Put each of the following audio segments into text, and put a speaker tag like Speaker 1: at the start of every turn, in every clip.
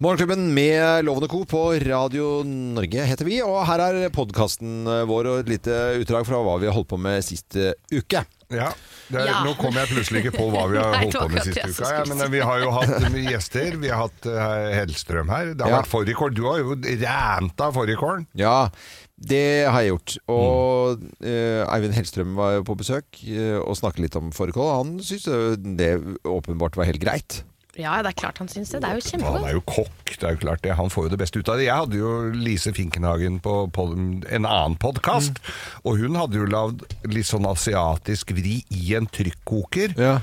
Speaker 1: Morgenklubben med Lovende Co. på Radio Norge heter vi, og her er podkasten vår og et lite utdrag fra hva vi holdt på med sist eh, uke.
Speaker 2: Ja. Det, er-
Speaker 3: Ja.
Speaker 2: Nå kom jeg plutselig ikke på hva vi har
Speaker 3: Nei,
Speaker 2: holdt
Speaker 3: det
Speaker 2: på
Speaker 3: var
Speaker 2: med
Speaker 3: akkurat
Speaker 2: siste
Speaker 3: det jeg
Speaker 2: uka. Ja,
Speaker 3: skulle
Speaker 2: men eh, vi har jo hatt mye gjester. Vi har hatt eh, Hellstrøm her. Det har
Speaker 1: Ja.
Speaker 2: vært fårikål. Du har jo rænta fårikålen.
Speaker 1: Ja, det har jeg gjort. Og eh, Eivind Hellstrøm var jo på besøk eh, og snakket litt om fårikål. Han syntes det åpenbart var helt greit.
Speaker 3: Ja, det er klart han syns det. Det er jo
Speaker 2: Han
Speaker 3: kjempegodt.
Speaker 2: er jo kokk, det er jo klart det. Han får jo det beste ut av det. Jeg hadde jo Lise Finkenhagen på, pod- en annen podkast, og hun hadde jo lagd litt sånn asiatisk vri i en trykkoker.
Speaker 1: Ja.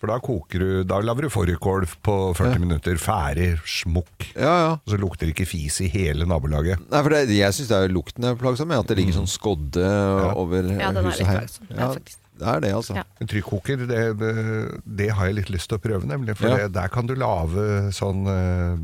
Speaker 2: For da koker du, da lager du fårikål på 40 minutter, ferdig, smukk.
Speaker 1: Ja, ja.
Speaker 2: Og så lukter det ikke fis i hele nabolaget.
Speaker 1: Nei, for det, jeg syns det er lukten er plagsom. ja, At det
Speaker 2: Mm.
Speaker 1: ligger sånn skodde over
Speaker 3: Ja, den er
Speaker 1: huset
Speaker 3: litt
Speaker 1: her.
Speaker 3: plagsom, det er faktisk.
Speaker 1: det er det, altså.
Speaker 3: Ja.
Speaker 2: En trykkoker, det, det har jeg litt lyst til å prøve, nemlig. For
Speaker 1: Ja.
Speaker 2: det, der kan du lage sånn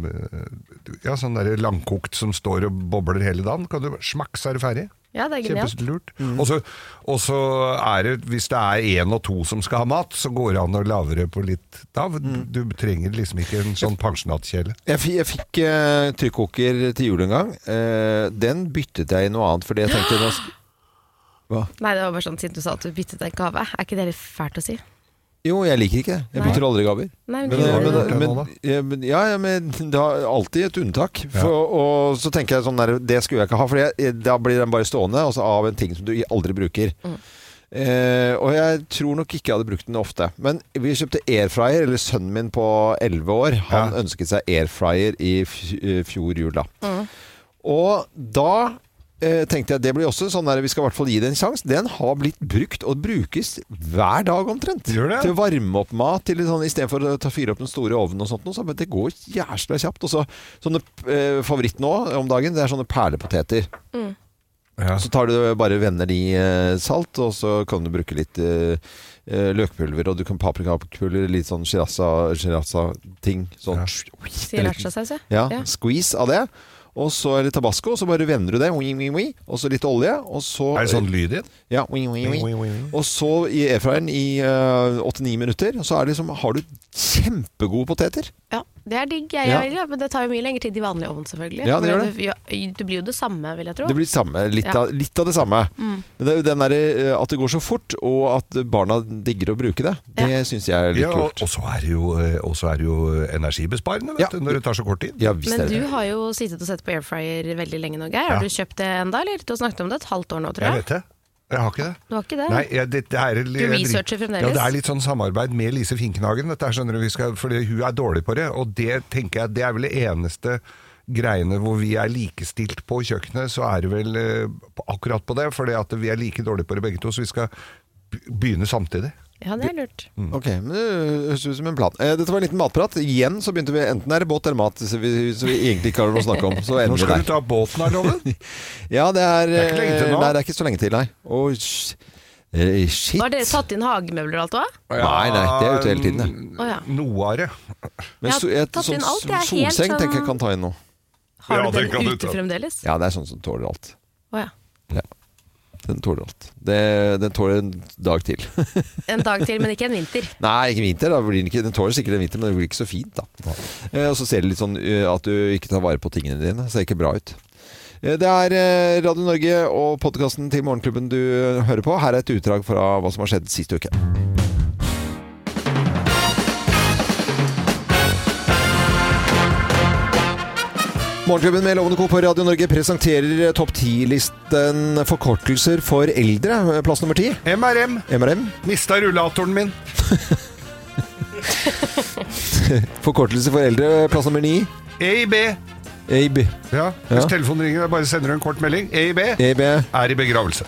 Speaker 2: eh, Ja, sånn derre langkokt som står og bobler hele dagen. Kan du Smakk, så er du ferdig.
Speaker 3: Ja, det er genialt.
Speaker 2: Kjempelurt.
Speaker 1: Mm.
Speaker 2: Og så- Og så er det, hvis det er én og to som skal ha mat, så går det an å lage det på litt da,
Speaker 1: Mm.
Speaker 2: Du trenger liksom ikke en sånn pensjonatkjele.
Speaker 1: Jeg, fi- jeg fikk eh, trykkoker til jul en gang. Eh, den byttet jeg i noe annet, fordi jeg tenkte nå sk- Hva?
Speaker 3: Nei, det var bare sånn siden du sa at du byttet deg gave. Er ikke det litt fælt å si?
Speaker 1: Jo, jeg liker ikke det. Jeg bytter aldri gaver.
Speaker 3: Nei, men,
Speaker 1: Men,
Speaker 3: du
Speaker 2: har
Speaker 3: gjorde
Speaker 2: jo
Speaker 3: det.
Speaker 2: gjort det
Speaker 1: men,
Speaker 2: nå, da.
Speaker 1: men, ja, men, ja, ja, men det er alltid et unntak. For, Og så tenker jeg sånn der, det skulle jeg ikke ha, for jeg, da blir den bare stående altså, av en ting som du aldri bruker. Eh, og jeg tror nok ikke jeg hadde brukt den ofte. Men vi kjøpte airfryer, eller sønnen min på 11 år, han
Speaker 2: Ja.
Speaker 1: ønsket seg airfryer i fj- eh, fjor jul, da.
Speaker 3: Mm.
Speaker 1: Og da eh, tenkte jeg det blir også sånn der vi skal i hvert fall gi det en sjanse. Den har blitt brukt og brukes hver dag omtrent.
Speaker 2: Gjør det?
Speaker 1: Til å varme opp mat til litt sånn, istedenfor å ta fyre opp den store ovnen og sånt. noe, Så, men det går jæsla kjapt. Og så sånne eh, favoritt nå om dagen, det er sånne perlepoteter.
Speaker 3: Mm.
Speaker 2: Ja.
Speaker 1: Så tar du bare vender de eh, salt, og så kan du bruke litt eh, eh, løkpulver, og du kan paprikapulver, litt sånn shiraza-ting. Sånn
Speaker 2: Ja.
Speaker 3: Sier Rajasaus, ja.
Speaker 1: ja,
Speaker 3: Ja.
Speaker 1: squeeze av det. Og så eller tabasco, og så bare vender du det. Wing, wing, wing, og så litt olje. Og så,
Speaker 2: Er det sånn lyd i den?
Speaker 1: Ja, wing, wing, wing.
Speaker 2: Wing, wing, wing.
Speaker 1: Og så i airfryeren i eh, 89 minutter, og så er det liksom, har du kjempegode poteter.
Speaker 3: Ja, det er digg. Jeg,
Speaker 1: Ja.
Speaker 3: jeg, vil, ja, men det tar jo mye lengre tid i vanlig ovn, selvfølgelig.
Speaker 1: Ja, det
Speaker 3: Men
Speaker 1: gjør
Speaker 3: ja, det blir jo det samme, vil jeg tro.
Speaker 1: Det blir det samme, litt,
Speaker 3: Ja.
Speaker 1: av, litt av det samme. Men det er jo den derre eh, at det går så fort, og at barna digger å bruke det, det syns jeg er litt
Speaker 2: Ja, og
Speaker 1: kult.
Speaker 2: og så er det jo, eh, og så er det jo energibesparende vet
Speaker 1: Ja.
Speaker 2: du, når det tar så kort tid.
Speaker 1: Ja, visst
Speaker 3: Men
Speaker 1: er
Speaker 3: du
Speaker 1: det.
Speaker 3: har jo sittet og sett på airfryer veldig lenge nå, Geir.
Speaker 2: Ja.
Speaker 3: Har du kjøpt det enda, eller? Du har snakket om det et halvt år nå, tror
Speaker 2: Jeg
Speaker 3: jeg.
Speaker 2: vet det. Jeg har ikke det.
Speaker 3: Du har ikke det?
Speaker 2: Nei, jeg, det, det er,
Speaker 3: Du researcher fremdeles?
Speaker 2: Ja, det er litt sånn samarbeid med Lise Finkenhagen. Dette her, skjønner du, vi skal, fordi hun er dårlig på det, og det tenker jeg det er vel det eneste greiene hvor vi er likestilt på kjøkkenet, så er det vel eh, på- akkurat på det, fordi at vi er like dårlige på det begge to, så vi skal be- begynne samtidig.
Speaker 3: Ja, det er lurt.
Speaker 2: mm.
Speaker 1: Ok, men det høres ut som en plan. Eh, dette var en liten matprat. Igjen så begynte vi enten er det båt eller mat, så vi, så vi egentlig ikke har noe å snakke om. Så
Speaker 2: Når
Speaker 1: ender vi
Speaker 2: skal
Speaker 1: der.
Speaker 2: du ta båten av loven?
Speaker 1: Ja, det er, eh,
Speaker 2: Det er ikke lenge til nå.
Speaker 1: Nei, det er ikke så lenge til, nei. Å, sh- eh, shit.
Speaker 3: Har dere tatt inn hagemøbler og alt òg?
Speaker 1: Nei, nei, det er ute hele tiden, det.
Speaker 3: Å ja.
Speaker 2: Mm, Noe av det.
Speaker 1: Men
Speaker 3: Jeg har
Speaker 1: so- et
Speaker 3: tatt inn
Speaker 1: sånn
Speaker 3: alt, jeg er helt
Speaker 1: solseng
Speaker 3: sånn-
Speaker 1: tenker jeg kan ta inn nå.
Speaker 3: Har
Speaker 2: Ja,
Speaker 3: du
Speaker 2: det kan
Speaker 3: den
Speaker 2: du
Speaker 3: ute
Speaker 2: ta.
Speaker 3: fremdeles?
Speaker 1: Ja, det er sånn som tåler alt.
Speaker 3: Å ja.
Speaker 1: Ja. Den tåler alt. Det, den tåler en dag til.
Speaker 3: En dag til, men ikke en vinter.
Speaker 1: Nei, ikke vinter. Da blir den, ikke, den tåler sikkert en vinter, men det blir ikke så fint, da. Eh, og så ser det litt sånn eh, at du ikke tar vare på tingene dine. Ser ikke bra ut. Eh, Det er eh, Radio Norge og podkasten til Morgenklubben du eh, hører på. Her er et utdrag fra hva som har skjedd sist uke. Morgenklubben med Lovende Co på Radio Norge presenterer eh, topp 10-listen forkortelser for eldre. Eh, Plass nummer 10,
Speaker 2: MRM,
Speaker 1: MRM.
Speaker 2: mista rullatoren min.
Speaker 1: Forkortelse for eldre, plass nummer 9,
Speaker 2: EIB.
Speaker 1: AIB.
Speaker 2: Ja,
Speaker 1: Ja.
Speaker 2: hvis telefonen ringer, jeg bare sender du en kort melding. EIB
Speaker 1: AIB.
Speaker 2: er i begravelse.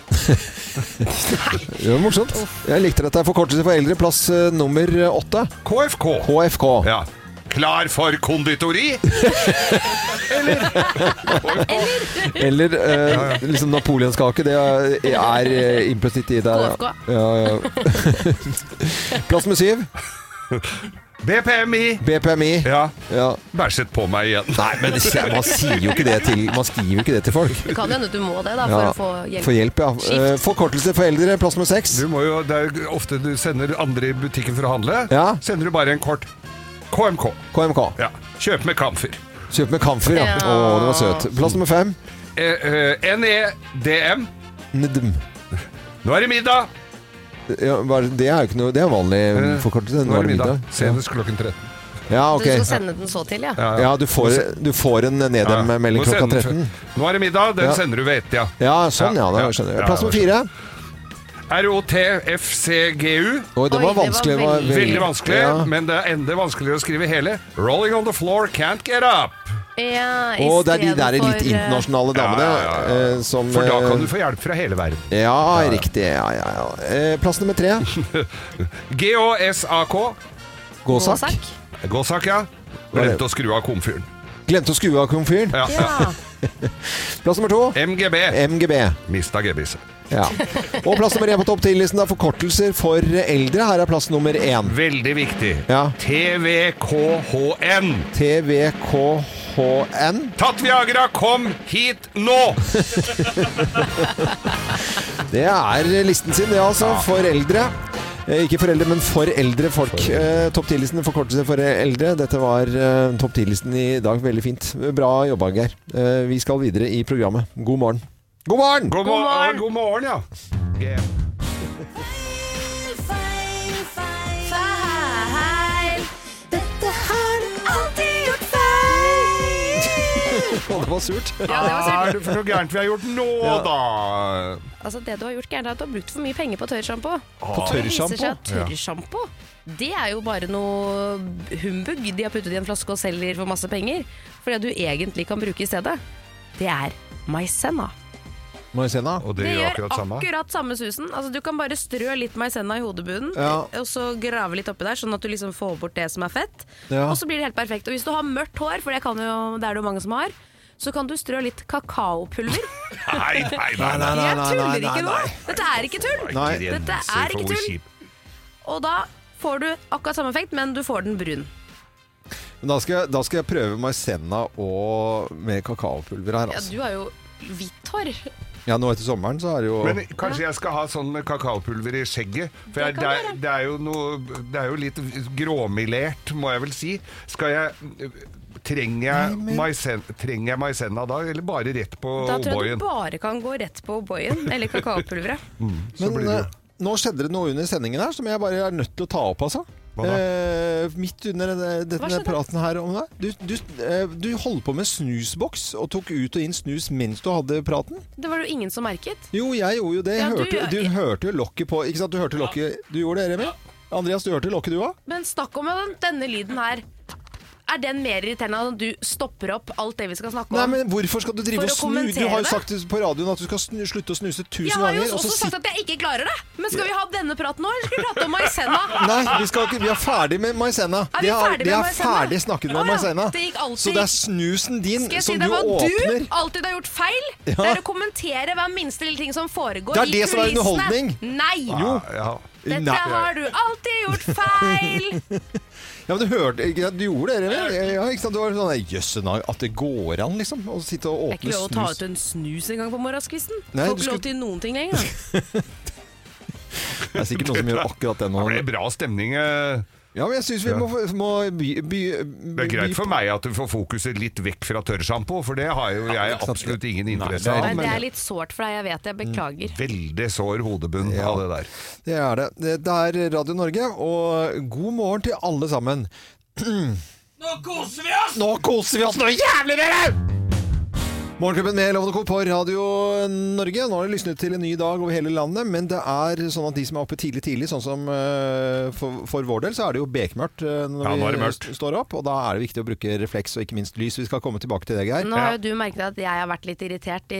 Speaker 1: Det var morsomt. Jeg likte dette. Forkortelse for eldre, plass eh, nummer 8,
Speaker 2: KFK.
Speaker 1: KFK.
Speaker 2: Ja. Klar for konditori?
Speaker 1: Eller eh, liksom napoleonskake. Det er, er eh, implisitt i det.
Speaker 3: KFK.
Speaker 1: Ja, ja. Plass med syv.
Speaker 2: BPMI.
Speaker 1: BPMI.
Speaker 2: Ja.
Speaker 1: Ja.
Speaker 2: Bæsjet på meg igjen.
Speaker 1: Nei, men man sier jo ikke det til Man skriver jo ikke det til folk.
Speaker 3: Det kan hende du må det da, for
Speaker 1: Ja,
Speaker 3: å få hjelp.
Speaker 1: For hjelp, ja. Eh, Forkortelse for eldre. Plass med seks.
Speaker 2: Du må jo, det er jo ofte du sender andre i butikken for å handle.
Speaker 1: Ja.
Speaker 2: Sender du bare en kort KMK.
Speaker 1: KMK.
Speaker 2: Ja. Kjøp med kamfer.
Speaker 1: Kjøp med kamfer, ja.
Speaker 3: Ja.
Speaker 1: Å, det var søt. Plass nummer fem.
Speaker 2: Eh, eh, NEDM.
Speaker 1: Ndm.
Speaker 2: Nå er det middag!
Speaker 1: Ja, bare, det er jo ikke noe Det er vanlig
Speaker 2: Eh,
Speaker 1: forkortelse. Nå er det middag.
Speaker 2: Senest klokken 13.
Speaker 1: Ja,
Speaker 3: Du skal
Speaker 1: ok.
Speaker 3: sende den så til, ja.
Speaker 2: Ja,
Speaker 1: Ja, du får, du får en
Speaker 2: Ja.
Speaker 1: nedem-melding
Speaker 2: Må
Speaker 1: klokka
Speaker 2: sende-
Speaker 1: 13.
Speaker 2: Nå er det middag, den
Speaker 1: Ja.
Speaker 2: sender du ved ett-tida.
Speaker 1: Ja, sånn, ja.
Speaker 2: Ja,
Speaker 1: Da
Speaker 2: ja.
Speaker 1: skjønner
Speaker 2: Ja,
Speaker 1: jeg. Plass
Speaker 2: ja,
Speaker 1: nummer fire.
Speaker 2: ROTFCGU.
Speaker 1: Oi, det var
Speaker 3: Oi, det var
Speaker 1: vanskelig. det var
Speaker 3: veldig-
Speaker 1: veldig-
Speaker 2: Veldig vanskelig,
Speaker 1: Ja.
Speaker 2: men det er enda vanskeligere å skrive hele. Rolling on the floor, can't get up.
Speaker 3: Ja, i
Speaker 1: Og det er de
Speaker 3: stedet
Speaker 1: der
Speaker 3: for,
Speaker 1: litt
Speaker 3: eh,
Speaker 2: Ja,
Speaker 1: internasjonale damene
Speaker 2: ja, ja, ja.
Speaker 1: eh, som
Speaker 2: For da kan
Speaker 1: eh,
Speaker 2: du få hjelp fra hele verden.
Speaker 1: Ja, riktig. Ja, ja, ja. Eh, Plass nummer tre.
Speaker 2: E. GHSAK.
Speaker 1: Gåsak.
Speaker 3: Gåsak.
Speaker 2: Gåsak, ja. Glemte å skru av komfyren.
Speaker 1: Glemte å skru av komfyren.
Speaker 2: Ja.
Speaker 3: Ja.
Speaker 1: Plass nummer to.
Speaker 2: MGB.
Speaker 1: MGB.
Speaker 2: Mista gebisset.
Speaker 1: Ja. Og plass nummer én på topp 10-listen er forkortelser for eldre. Her er plass nummer én.
Speaker 2: Veldig viktig.
Speaker 1: Ja.
Speaker 2: TVKHN.
Speaker 1: TVKHN.
Speaker 2: Tatt Viagra, kom hit nå!
Speaker 1: Det er listen sin, det altså. For eldre. Eh, Ikke for eldre, men for eldre folk. Eh, topp 10-listen forkortelse for eldre. Dette var eh, topp 10-listen i dag. Veldig fint. Bra jobba, Geir. Eh, vi skal videre i programmet. God morgen. God morgen!
Speaker 2: God, mo-
Speaker 3: morgen.
Speaker 2: God morgen, ja. G-
Speaker 4: Feil, feil, feil. Dette har du alltid gjort feil.
Speaker 1: Å, det var surt.
Speaker 3: Ja, det var
Speaker 2: Hva
Speaker 3: søren.
Speaker 2: er det for noe gærent vi har gjort nå, da?
Speaker 3: Altså, det du har gjort gærent, er at du har brukt for mye penger på tørrsjampo.
Speaker 1: På
Speaker 3: Det viser seg
Speaker 1: tørrsjampo.
Speaker 3: at tørrsjampo, det er jo bare noe humbug de har puttet i en flaske og selger for masse penger. For det du egentlig kan bruke i stedet, det er Maisenna.
Speaker 1: Maizena.
Speaker 2: Og
Speaker 3: Det
Speaker 2: det gjør akkurat samme.
Speaker 3: akkurat samme susen. Altså, du kan bare strø litt maisenna i hodebunnen,
Speaker 1: Ja.
Speaker 3: og så grave litt oppi der, sånn at du liksom får bort det som er fett.
Speaker 1: Ja.
Speaker 3: Og så blir det helt perfekt. Og hvis du har mørkt hår, for det, kan jo, det er det jo mange som har, så kan du strø litt kakaopulver.
Speaker 2: Nei, nei, nei. nei.
Speaker 1: Nei,
Speaker 3: Jeg
Speaker 1: nei,
Speaker 3: tuller
Speaker 1: nei,
Speaker 3: ikke nå!
Speaker 1: nei, nei.
Speaker 3: Dette er ikke tull!
Speaker 1: Nei.
Speaker 3: Dette
Speaker 2: Grenser
Speaker 3: er
Speaker 2: for
Speaker 3: ikke
Speaker 2: hvor
Speaker 3: tull.
Speaker 2: kjip.
Speaker 3: Og da får du akkurat samme effekt, men du får den brun.
Speaker 1: Men da skal, jeg- da skal jeg prøve Maizena og med kakaopulver her,
Speaker 3: Ja,
Speaker 1: altså.
Speaker 3: du har jo hvitt hår.
Speaker 1: Ja, nå etter sommeren så er det jo
Speaker 2: Men eh, kanskje jeg skal ha sånn kakaopulver i skjegget? For jeg,
Speaker 3: Det
Speaker 2: det,
Speaker 3: kan
Speaker 2: er, det, er jo noe, det er jo litt gråmilert, må jeg vel si. Skal jeg Trenger jeg, maisen, trenger jeg maisenna da, eller bare rett på
Speaker 3: Da tror jeg
Speaker 2: O'boyen?
Speaker 3: du bare kan gå rett på O'boyen eller kakaopulveret.
Speaker 2: Så blir
Speaker 1: Men
Speaker 2: det-
Speaker 1: eh, nå skjedde det noe under sendingen her som jeg bare er nødt til å ta opp, altså.
Speaker 2: Hva da?
Speaker 1: Eh, midt under denne, denne
Speaker 3: skjedde?
Speaker 1: praten her om deg. Du, du, eh, du holdt på med snusboks og tok ut og inn snus mens du hadde praten.
Speaker 3: Det var det jo ingen som merket.
Speaker 1: Jo, jeg gjorde jo det. Jeg
Speaker 3: Ja, du-
Speaker 1: hørte, du hørte jo lokket på Ikke sant, du hørte lokket Du gjorde det, Remi? Andreas, du hørte lokket du òg?
Speaker 3: Men snakk om den, denne lyden her. Er den mer irriterende enn at du stopper opp alt det vi skal snakke om?
Speaker 1: Nei, men hvorfor skal du drive
Speaker 3: For
Speaker 1: og
Speaker 3: å
Speaker 1: snu? Du
Speaker 3: kommentere
Speaker 1: har jo
Speaker 3: det?
Speaker 1: sagt på radioen at du skal snu, slutte å snuse tusen
Speaker 3: jeg har jo
Speaker 1: ganger. og
Speaker 3: også
Speaker 1: så
Speaker 3: sagt
Speaker 1: sitter-
Speaker 3: at jeg ikke klarer det! Men skal vi ha denne praten nå, eller skal vi prate om maisenna?
Speaker 1: Nei, vi, skal ikke, vi er ferdig med maisenna.
Speaker 3: Er vi
Speaker 1: Det
Speaker 3: ferdig
Speaker 1: det
Speaker 3: med
Speaker 1: er
Speaker 3: maisenna?
Speaker 1: ferdig snakket med
Speaker 3: Å ja,
Speaker 1: maisenna.
Speaker 3: det gikk alltid-
Speaker 1: Så det er snusen din
Speaker 3: Skal jeg si
Speaker 1: som
Speaker 3: deg
Speaker 1: du
Speaker 3: hva
Speaker 1: åpner.
Speaker 3: du alltid har gjort feil?
Speaker 1: Ja.
Speaker 3: Det er å kommentere hver minste lille ting som foregår
Speaker 1: Det er
Speaker 3: i
Speaker 1: det som er
Speaker 3: kulissene.
Speaker 1: underholdning.
Speaker 3: Nei!
Speaker 2: Ja, ja.
Speaker 3: Dette
Speaker 1: Nei.
Speaker 3: har du alltid gjort feil!
Speaker 1: Ja, men du hørte ikke sant? Du gjorde det, eller? Ja, ikke sant? Du var sånn Jøsse navn, at det går an, liksom? Å sitte og
Speaker 3: Det er
Speaker 1: åpne
Speaker 3: ikke lov å ta ut
Speaker 1: snus.
Speaker 3: en snus engang på morgenskvisten.
Speaker 1: Nei, du
Speaker 3: Får ikke
Speaker 1: skulle-
Speaker 3: lov til noen ting lenger.
Speaker 1: Det er sikkert noen som gjør akkurat det nå.
Speaker 2: Det ble bra stemning. eh.
Speaker 1: Ja, men jeg syns vi må, må by, by,
Speaker 2: Det er greit for meg at du får fokuset litt vekk fra tørrsjampo, for det har jo jeg
Speaker 1: ikke sant.
Speaker 2: absolutt ingen
Speaker 1: det
Speaker 2: interesse
Speaker 1: er- Mm.
Speaker 2: av. Mm.
Speaker 3: Nei,
Speaker 1: men-
Speaker 3: det er litt sårt for deg, jeg vet det. Jeg beklager.
Speaker 2: Veldig sår hodebunn
Speaker 1: Ja.
Speaker 2: av det der.
Speaker 1: Det er det. Det det er Radio Norge, og god morgen til alle sammen. Nå koser vi oss! Nå koser vi oss noe jævlig, dere! Morgenklubben med Lovende Co. på Radio Norge. Nå har det lysnet til en ny dag over hele landet, men det er sånn at de som er oppe tidlig tidlig, sånn som eh, for, for vår del, så er det jo bekmørkt eh, når
Speaker 5: Ja, nå er det
Speaker 1: vi
Speaker 5: mørkt.
Speaker 1: st- står opp. Og da er det viktig å bruke refleks og ikke minst lys. Vi skal komme tilbake til det, Geir.
Speaker 3: Nå har jo du merket at jeg har vært litt irritert i,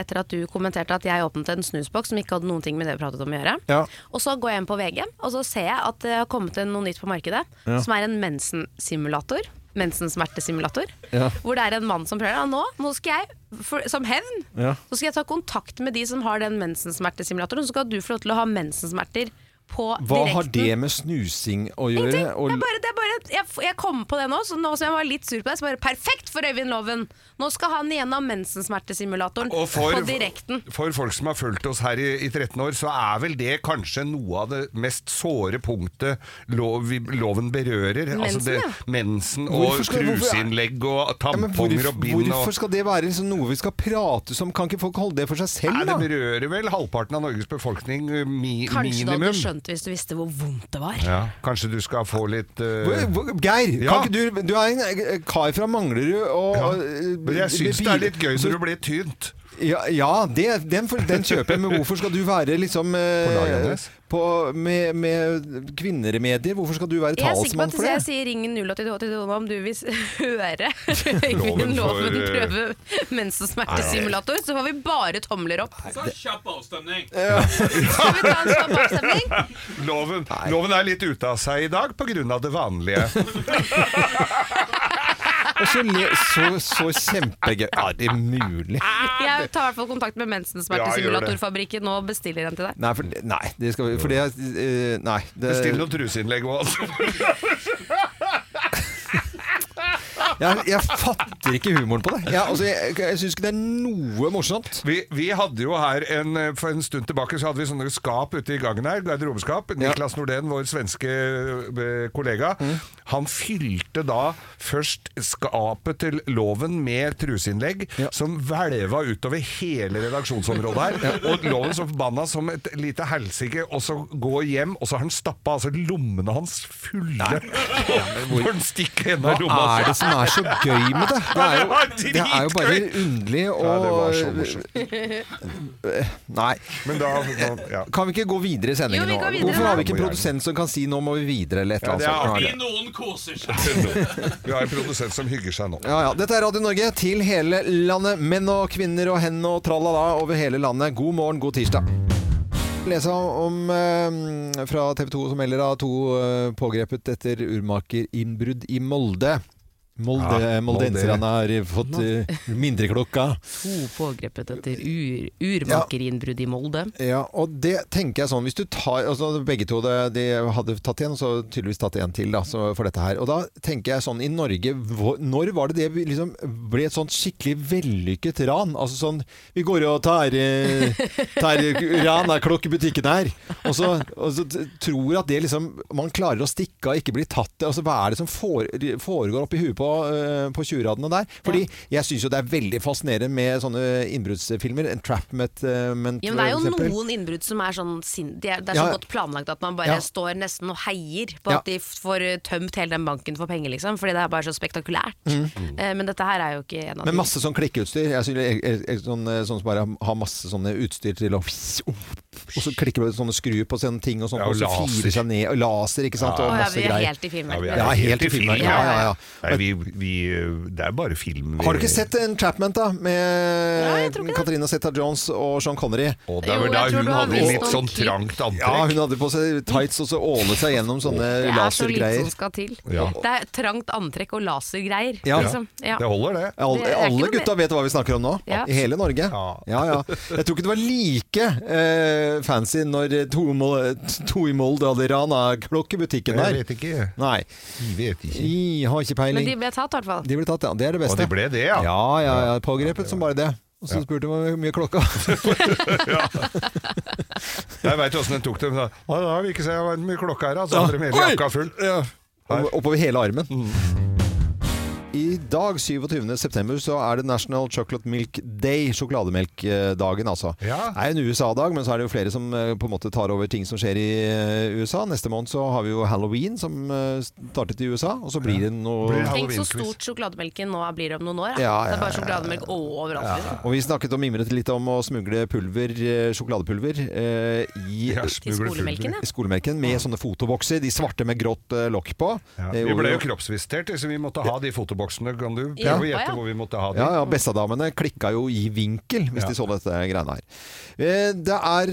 Speaker 3: etter at du kommenterte at jeg åpnet en snusboks som ikke hadde noen ting med det vi pratet om å gjøre.
Speaker 1: Ja.
Speaker 3: Og så går jeg inn på VG, og så ser jeg at det har kommet en- noe nytt på markedet, som er en mensensimulator. Mensensmertesimulator.
Speaker 1: Ja.
Speaker 3: Hvor det er en mann som prøver ja, nå, nå skal jeg, for, som hevn,
Speaker 1: Ja.
Speaker 3: så skal jeg ta kontakt med de som har den mensensmertesimulatoren, så skal du få lov til å ha mensensmerter på
Speaker 1: Hva
Speaker 3: direkten.
Speaker 1: har det med snusing å gjøre?
Speaker 3: Ingenting.
Speaker 1: Og-
Speaker 3: Det er bare, det er bare, jeg, jeg kom på det nå, så nå som jeg var litt sur på det, så bare perfekt for Øyvind Loven! Nå skal han gjennom mensensmertesimulatoren
Speaker 2: Og for,
Speaker 3: på direkten.
Speaker 2: for folk som har fulgt oss her i, i 13 år, så er vel det kanskje noe av det mest såre punktet lov, vi- loven berører. altså
Speaker 3: Mensen,
Speaker 2: det,
Speaker 3: ja.
Speaker 2: mensen og
Speaker 1: Hvorfor skal- hvorfor er-
Speaker 2: truseinnlegg og
Speaker 1: Ja, men
Speaker 2: tamponger
Speaker 1: hvorfor,
Speaker 2: og bind. og-
Speaker 1: hvorfor skal det være liksom noe vi skal prate om? Kan ikke folk holde det for seg selv,
Speaker 2: Nei,
Speaker 1: da?
Speaker 2: det berører vel halvparten av Norges befolkning, eh, mi,
Speaker 3: Kanskje du hadde
Speaker 2: minimum.
Speaker 3: skjønt hvis du visste hvor vondt det var.
Speaker 2: Ja, kanskje du skal få litt eh,
Speaker 1: Hvor- hvor- Geir,
Speaker 2: Ja.
Speaker 1: kan ikke du, du er en eh, kar fra Manglerud og
Speaker 2: ja.
Speaker 1: og, eh,
Speaker 2: Men jeg syns det
Speaker 1: bil-
Speaker 2: er litt gøy
Speaker 1: så-
Speaker 2: når du blir tynt.
Speaker 1: Ja, ja det, den, for, den kjøper jeg, men hvorfor skal du være liksom eh,
Speaker 2: På laget hennes?
Speaker 1: på, med, med kvinneremedier? Hvorfor skal du være
Speaker 3: Jeg er sikker på
Speaker 1: talsmann
Speaker 3: at
Speaker 1: for
Speaker 3: hvis jeg
Speaker 1: det?
Speaker 3: sier ringen 08282 nå, om du vil s- høre Øyvind
Speaker 2: Loven for,
Speaker 3: Loven
Speaker 2: eh,
Speaker 3: prøve mensensmertesimulator, så får vi bare tomler opp.
Speaker 5: Så kjapp avstemning!
Speaker 3: Skal vi ta en kjapp avstemning?
Speaker 2: Loven, loven er litt ute av seg i dag pga. det vanlige.
Speaker 1: Og så, le, så, så kjempegøy. Ja, det er mulig.
Speaker 3: Jeg tar i hvert fall kontakt med mensensmertesimulatorfabrikken og bestiller en til deg.
Speaker 1: Nei, for, det- nei, det skal vi For det er eh, Nei. Det,
Speaker 2: Still noen truseinnlegg òg, altså.
Speaker 1: jeg, jeg fatter ikke humoren på det. Jeg, altså, jeg, jeg syns ikke det er noe morsomt.
Speaker 2: Vi, vi hadde jo her en, eh, For en stund tilbake så hadde vi sånne skap ute i gangen her. Garderobeskap. Niklas Nordén, vår svenske eh, kollega,
Speaker 1: Mm.
Speaker 2: han fylte da først skapet til loven med truseinnlegg
Speaker 1: Ja.
Speaker 2: som hvelva utover hele redaksjonsområdet her. Og loven så forbanna som et lite helsike, og så gå hjem, og så har han stappa altså lommene hans fulle når han stikker hendene i
Speaker 1: Hva
Speaker 2: lomma.
Speaker 1: er det som er så gøy med det? Det er jo, det er jo bare
Speaker 2: Dritgøy!
Speaker 1: underlig
Speaker 2: Ja, det var så
Speaker 1: og
Speaker 2: morsomt.
Speaker 1: Eh, Nei. Eh,
Speaker 2: Men da, da ja.
Speaker 1: Kan vi ikke gå videre i sendingen
Speaker 3: Jo, vi
Speaker 1: nå?
Speaker 3: går videre
Speaker 1: Hvorfor har
Speaker 3: nå.
Speaker 1: vi ikke en produsent som kan si 'nå må vi videre' eller et eller annet?
Speaker 2: Ja, det er
Speaker 1: sånt?
Speaker 2: artig.
Speaker 5: Fordi noen koser seg.
Speaker 2: Vi har en produsent som hygger seg nå.
Speaker 1: Ja, ja. Dette er Radio Norge til hele landet. Menn og kvinner og hen og tralala over hele landet. God morgen, god tirsdag. Lese om eh, fra TV 2 som melder av to eh, pågrepet etter urmakerinnbrudd i Molde. Molde,
Speaker 2: Ja,
Speaker 1: Moldenserne har fått eh, mindreklokka.
Speaker 3: To pågrepet etter ur, urmakerinnbrudd i Molde.
Speaker 1: Ja, og det tenker jeg sånn Hvis du tar, altså begge to det, De hadde tatt igjen, så tydeligvis tatt igjen til da, så, For dette her, og da tenker jeg sånn I Norge, hvor, når var det det liksom, Ble et sånt skikkelig vellykket ran Altså sånn, vi går og tar eh, Tar ran av klokk i butikken her Og så, og så t- tror at det liksom Man klarer å stikke av, ikke bli tatt Altså hva er det som fore, foregår oppi huet på, eh, på 20-radene der Fordi jeg synes jo det er veldig fascinerende Med sånne innbruddsfilmer Entrapment eh, men
Speaker 3: Ja, men det
Speaker 1: for
Speaker 3: er jo
Speaker 1: eksempel.
Speaker 3: noen innbrudd som er sånn sin- Det er, det er så
Speaker 1: Ja.
Speaker 3: godt planlagt at man bare
Speaker 1: Ja.
Speaker 3: står nesten og heier på
Speaker 1: Ja.
Speaker 3: at de f- får eh, tømt hele den banken for penger, liksom. Fordi det er bare så spektakulært. Eh, Men dette her er jo ikke en av
Speaker 1: Men
Speaker 3: de.
Speaker 1: Mm. masse sånn klikkeutstyr. Jeg synes, jeg, jeg, jeg, sånn, eh, sånn som bare har masse sånne utstyr til å Og så klikker du sånne skruer på sånne ting, og, sånn,
Speaker 2: Ja, og
Speaker 1: og så
Speaker 2: laser.
Speaker 1: firer seg ned. Og laser, ikke sant.
Speaker 3: Å
Speaker 1: Og
Speaker 3: ja,
Speaker 1: masse
Speaker 3: vi er
Speaker 1: greier.
Speaker 3: helt i
Speaker 2: Ja, vi
Speaker 3: filmen.
Speaker 2: er
Speaker 1: Ja, helt i filmen. Ja, ja, ja.
Speaker 2: Nei, vi, vi, det er bare film. Vi,
Speaker 1: Har du ikke sett eh, Entrapment, da?
Speaker 3: Nei, jeg
Speaker 1: Med
Speaker 3: tror ikke det.
Speaker 1: Katarina Zeta-Jones og Sean Connery.
Speaker 2: Og det
Speaker 3: Jo,
Speaker 2: var
Speaker 3: jeg
Speaker 2: da
Speaker 3: tror
Speaker 2: hun
Speaker 3: du har
Speaker 2: hadde
Speaker 3: vist
Speaker 2: litt
Speaker 3: noen
Speaker 2: sånn
Speaker 3: klipp.
Speaker 2: trangt
Speaker 1: Ja, hun
Speaker 2: antrekk.
Speaker 1: hadde på seg tights og så ålet seg gjennom sånne
Speaker 3: Det er så lite sånn
Speaker 1: lasergreier.
Speaker 3: som skal til.
Speaker 2: Ja.
Speaker 3: Det er trangt antrekk og lasergreier,
Speaker 1: Ja.
Speaker 3: liksom. Ja.
Speaker 2: Det holder, det.
Speaker 1: Alle,
Speaker 3: Det er ikke
Speaker 1: alle
Speaker 3: noe mer.
Speaker 1: gutta vet hva vi snakker om nå,
Speaker 3: Ja.
Speaker 1: i hele Norge. Ja.
Speaker 2: Ja.
Speaker 1: Ja, Jeg tror ikke det var like eh, fancy når to, i Mol- to i Molde hadde rana klokkebutikken
Speaker 2: Jeg
Speaker 1: der.
Speaker 2: vet ikke.
Speaker 1: Nei,
Speaker 2: Vi vet ikke.
Speaker 1: jeg har ikke peiling.
Speaker 3: Men de ble tatt, i hvert fall.
Speaker 1: De ble tatt, ja. Det er det
Speaker 2: Og
Speaker 1: beste.
Speaker 2: det ble det, ja.
Speaker 1: Ja, ja, ja. Pågrepet som bare det. Og så spurte jeg hvor mye klokka
Speaker 2: Jeg veit åssen den tok det. men da- Å, Da vil ikke se hvor mye klokka er, altså. Andre mener
Speaker 1: Oi!
Speaker 2: jakka full.
Speaker 1: Oppover hele armen. I dag, 27. september, så er det National Chocolate Milk Day. Sjokolademelkdagen, altså.
Speaker 2: Ja.
Speaker 1: Det er en USA-dag, men så er det jo flere som eh, på en måte tar over ting som skjer i eh, USA. Neste måned så har vi jo halloween, som eh, startet i USA, og så blir det noe
Speaker 2: Blir det-
Speaker 3: Tenk så
Speaker 2: Halloween-quiz.
Speaker 3: stort sjokolademelken nå blir om noen år. da.
Speaker 1: Ja,
Speaker 3: Det er
Speaker 1: ja,
Speaker 3: bare sjokolademelk overalt. liksom.
Speaker 1: Og vi snakket og mimret litt om å smugle pulver, eh, skoladepulver, eh, i
Speaker 2: Ja,
Speaker 3: I
Speaker 2: smugler
Speaker 3: skolemelken, ja.
Speaker 1: i skolemerken med sånne fotobokser. De svarte med grått eh, lokk på.
Speaker 2: Ja.
Speaker 1: Det
Speaker 2: Vi
Speaker 1: gjorde
Speaker 2: ble jo
Speaker 1: jo-
Speaker 2: kroppsvisitert, så vi måtte ha de fotoboksene. Kan du
Speaker 3: Ja.
Speaker 2: prøve å
Speaker 3: Å, ja.
Speaker 2: gjette hvor vi måtte ha de?
Speaker 1: Ja, ja, Bessadamene klikka jo i vinkel hvis
Speaker 2: Ja.
Speaker 1: de så dette greiene her. Eh, Det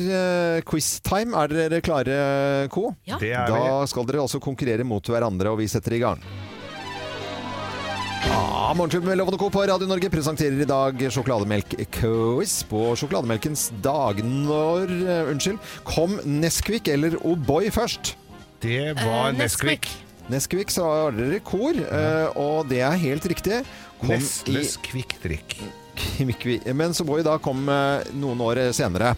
Speaker 1: er eh, quiz-time. Er dere klare, Co?
Speaker 3: Ja.
Speaker 2: Det er vi.
Speaker 1: Da skal dere altså konkurrere mot hverandre, og vi setter i gang. Ah, Morgenklubben med Lovende Co på Radio Norge presenterer i dag sjokolademelk-quiz på sjokolademelkens dag. Når eh, Unnskyld. Kom Nesquik eller O'boy først?
Speaker 2: Det var
Speaker 3: Eh,
Speaker 2: Nesquik. Mhm.
Speaker 1: Nesquik så har dere kor, eh, og det er helt riktig. Kom i
Speaker 2: Nestles kvikkdrikk.
Speaker 1: Kvikk- Men så Boy da kom eh, noen år senere.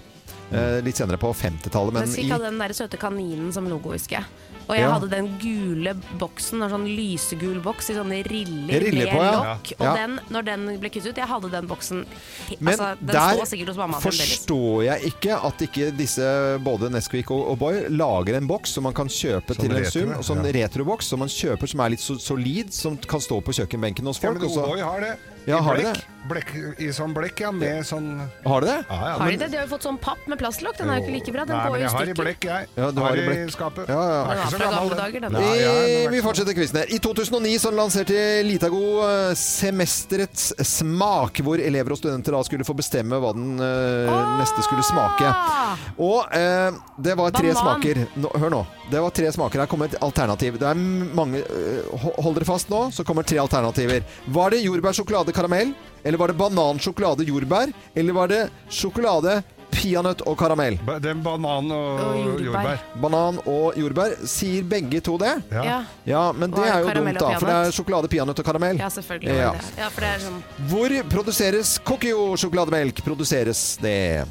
Speaker 1: Eh, Litt senere på 50-tallet, men
Speaker 3: Nesquik
Speaker 1: i
Speaker 3: hadde den der søte kaninen som logo, husker jeg. Og jeg
Speaker 1: Ja.
Speaker 3: hadde den gule boksen, en sånn lysegul boks i sånne riller,
Speaker 1: Riller
Speaker 3: med
Speaker 1: på, ja.
Speaker 3: lokk.
Speaker 1: Ja.
Speaker 3: Og den, når den ble kuttet ut, jeg hadde den boksen he-
Speaker 1: Men
Speaker 3: altså, Den står sikkert hos
Speaker 1: der
Speaker 3: mamma fremdeles.
Speaker 1: forstår jeg ikke at ikke disse, både Nesquik og O'boy, lager en boks som man kan kjøpe
Speaker 2: Sånn
Speaker 1: til en
Speaker 2: retro,
Speaker 1: sum.
Speaker 2: ja.
Speaker 1: Sånn retroboks som man kjøper som er litt so- solid, som kan stå på kjøkkenbenken hos
Speaker 2: Ja,
Speaker 1: folk.
Speaker 2: men
Speaker 1: og så-
Speaker 2: Oboy har det.
Speaker 1: Ja,
Speaker 2: I
Speaker 1: har de
Speaker 2: blekk. Blekk, I sånn blekk, ja. Med sånn
Speaker 1: har du det?
Speaker 2: ja, ja,
Speaker 3: Har de
Speaker 2: men-
Speaker 3: det? De har jo fått sånn papp med plastlokk. Den er jo ikke like bra. Den
Speaker 2: Nei, men
Speaker 3: går jo i
Speaker 2: jeg har i
Speaker 3: stykker.
Speaker 2: blekk, jeg.
Speaker 1: Ja, du har i blekk.
Speaker 2: skapet.
Speaker 1: Ja,
Speaker 2: Den er
Speaker 1: ja.
Speaker 3: Den
Speaker 2: ikke
Speaker 3: var
Speaker 2: så
Speaker 3: fra
Speaker 2: gammel,
Speaker 3: gamle dager,
Speaker 2: den.
Speaker 3: den.
Speaker 2: Nei, ja, den er
Speaker 1: Eh,
Speaker 2: ikke
Speaker 1: Vi
Speaker 2: så-
Speaker 1: fortsetter quizen her. I 2009 så lanserte Litago eh, Semesterets smak, hvor elever og studenter da skulle få bestemme hva den eh, neste skulle smake.
Speaker 3: Ah!
Speaker 1: Og eh, det var tre
Speaker 3: Banan.
Speaker 1: smaker. Nå, hør nå. Det var tre smaker. Her kommer et alternativ. Det er mange eh, ho- Hold dere fast nå, så kommer tre alternativer. Var det jordbær, sjokolade, karamell? Eller var det banan, sjokolade, jordbær? Eller var det sjokolade, peanøtt og karamell?
Speaker 2: Ba- Den banan og,
Speaker 3: Og jordbær.
Speaker 2: jordbær.
Speaker 1: Banan og jordbær. Sier begge to det?
Speaker 2: Ja.
Speaker 3: Ja.
Speaker 1: Ja, men det
Speaker 3: Og
Speaker 1: er jo
Speaker 3: karamell
Speaker 1: dumt,
Speaker 3: og
Speaker 1: da. For det
Speaker 3: peanøtt.
Speaker 1: er sjokolade, peanøtt og karamell.
Speaker 3: ja, selvfølgelig.
Speaker 1: Ja.
Speaker 3: var det det. Ja, for det er sånn
Speaker 1: Hvor produseres Cockio sjokolademelk? Produseres det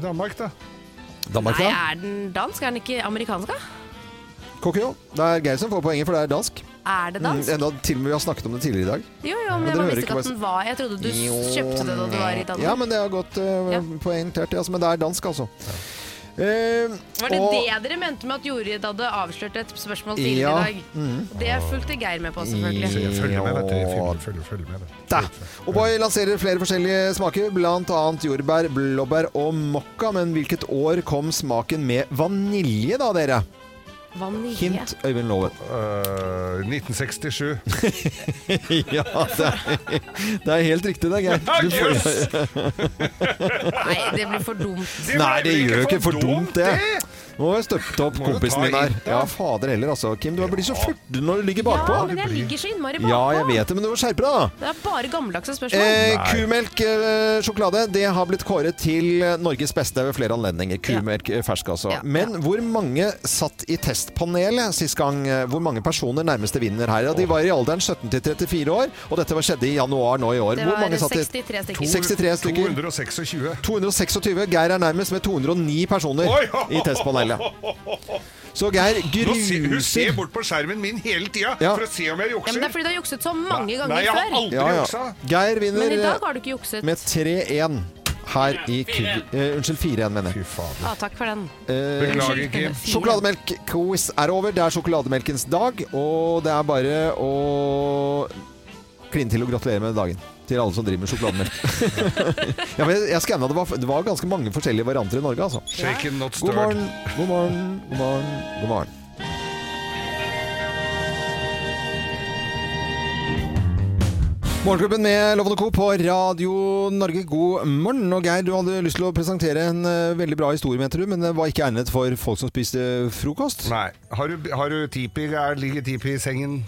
Speaker 2: Danmark, da.
Speaker 1: Danmark,
Speaker 3: Nei,
Speaker 1: da?
Speaker 3: er den dansk? Er den ikke amerikansk, da?
Speaker 1: Cockio. Det er Geir som får poenget, for det er dansk.
Speaker 3: Er det
Speaker 1: Mm,
Speaker 3: dansk?
Speaker 1: enda til og med vi har snakket om det tidligere i dag.
Speaker 3: Jo, jo,
Speaker 1: Ja, dere
Speaker 3: men jeg bare
Speaker 1: hører ikke
Speaker 3: visste ikke
Speaker 1: hva
Speaker 3: at den var Jeg trodde du s-
Speaker 1: Jo,
Speaker 3: kjøpte det da du var i Danmark.
Speaker 1: Ja, men det har gått uh,
Speaker 3: Ja.
Speaker 1: poengtert, altså, men det er dansk, altså. Eh,
Speaker 3: Var det
Speaker 1: og-
Speaker 3: det dere mente med at Jorid hadde avslørt et spørsmål tidligere
Speaker 1: Ja. Mm.
Speaker 3: i dag? Det fulgte Geir med på, selvfølgelig.
Speaker 1: I-
Speaker 2: Jeg følger med, vet du. Jeg
Speaker 1: Ja.
Speaker 2: følger, følger, følger med. vet du.
Speaker 1: Da. O'boy lanserer flere forskjellige smaker, bl.a. jordbær, blåbær og mokka. Men hvilket år kom smaken med vanilje, da, dere?
Speaker 3: Vanilje.
Speaker 1: Hint Øyvind Loven.
Speaker 2: Øh, 1967.
Speaker 1: Ja, det er, det er helt riktig, det, Geir. Du får-
Speaker 3: Nei, det blir for dumt.
Speaker 1: Nei, det
Speaker 2: blir
Speaker 1: gjør jo ikke for dumt, det.
Speaker 2: det.
Speaker 1: Nå har jeg støpt opp
Speaker 2: Må jo
Speaker 1: kompisen
Speaker 2: ta
Speaker 1: din der.
Speaker 2: hit, da.
Speaker 1: Ja, fader heller, altså. Kim, du blir så furten når du ligger
Speaker 3: Ja,
Speaker 1: bakpå.
Speaker 3: men jeg ligger så innmari bakpå.
Speaker 1: Ja, jeg vet det, men du må skjerpe deg, da.
Speaker 3: Det er bare gammeldagse spørsmål.
Speaker 1: Eh,
Speaker 2: Nei.
Speaker 1: kumelk eh, sjokolade det har blitt kåret til eh, Norges beste ved flere anledninger. Kumelk eh, fersk, altså.
Speaker 3: Ja,
Speaker 1: Men hvor mange satt i testpanelet sist gang? Eh, Hvor mange personer nærmeste vinner her? Ja, de var i alderen 17 til 34 år, og dette var skjedde i januar nå i år.
Speaker 3: det
Speaker 1: Hvor
Speaker 3: var
Speaker 1: mange satt i
Speaker 3: 63 stykker.
Speaker 1: 63 stykker.
Speaker 2: 226.
Speaker 1: 226. Geir er nærmest med 209 personer
Speaker 2: Oi!
Speaker 1: i testpanelet. Så Geir
Speaker 2: Nå ser, hun ser
Speaker 1: gruser
Speaker 2: bort på skjermen min hele tida
Speaker 1: Ja.
Speaker 2: for å se om jeg
Speaker 3: Ja,
Speaker 2: jukser.
Speaker 3: men det er fordi du har jukset så mange ganger
Speaker 2: Nei, jeg har
Speaker 3: før.
Speaker 2: aldri
Speaker 1: Ja, ja.
Speaker 2: juksa.
Speaker 1: Geir
Speaker 3: Men i
Speaker 1: vinner
Speaker 3: dag
Speaker 1: eh,
Speaker 3: har du ikke jukset.
Speaker 1: med 3-1 her i Kugel. Eh, unnskyld, 4-1, mener jeg.
Speaker 2: Fy fader.
Speaker 3: Ah, takk for den.
Speaker 1: Eh,
Speaker 2: Beklager, Kim.
Speaker 1: Sjokolademelk-quiz er over. Det er sjokolademelkens dag, og det er bare å kline til og gratulere med dagen. Til alle som driver med sjokolademelk. ja, men jeg skanna, det, var- det var ganske mange forskjellige varianter i Norge, altså.
Speaker 2: Shaken, not
Speaker 1: God
Speaker 2: stirred.
Speaker 1: morgen, god morgen, god morgen, god morgen. Morgenklubben med Lovende Co. på Radio Norge, god morgen. Og Geir, du hadde lyst til å presentere en eh, veldig bra historie, mente du, men det var ikke egnet for folk som spiste frokost.
Speaker 2: Nei. Har du, har du tipi? Er- Ligger tipi i sengen?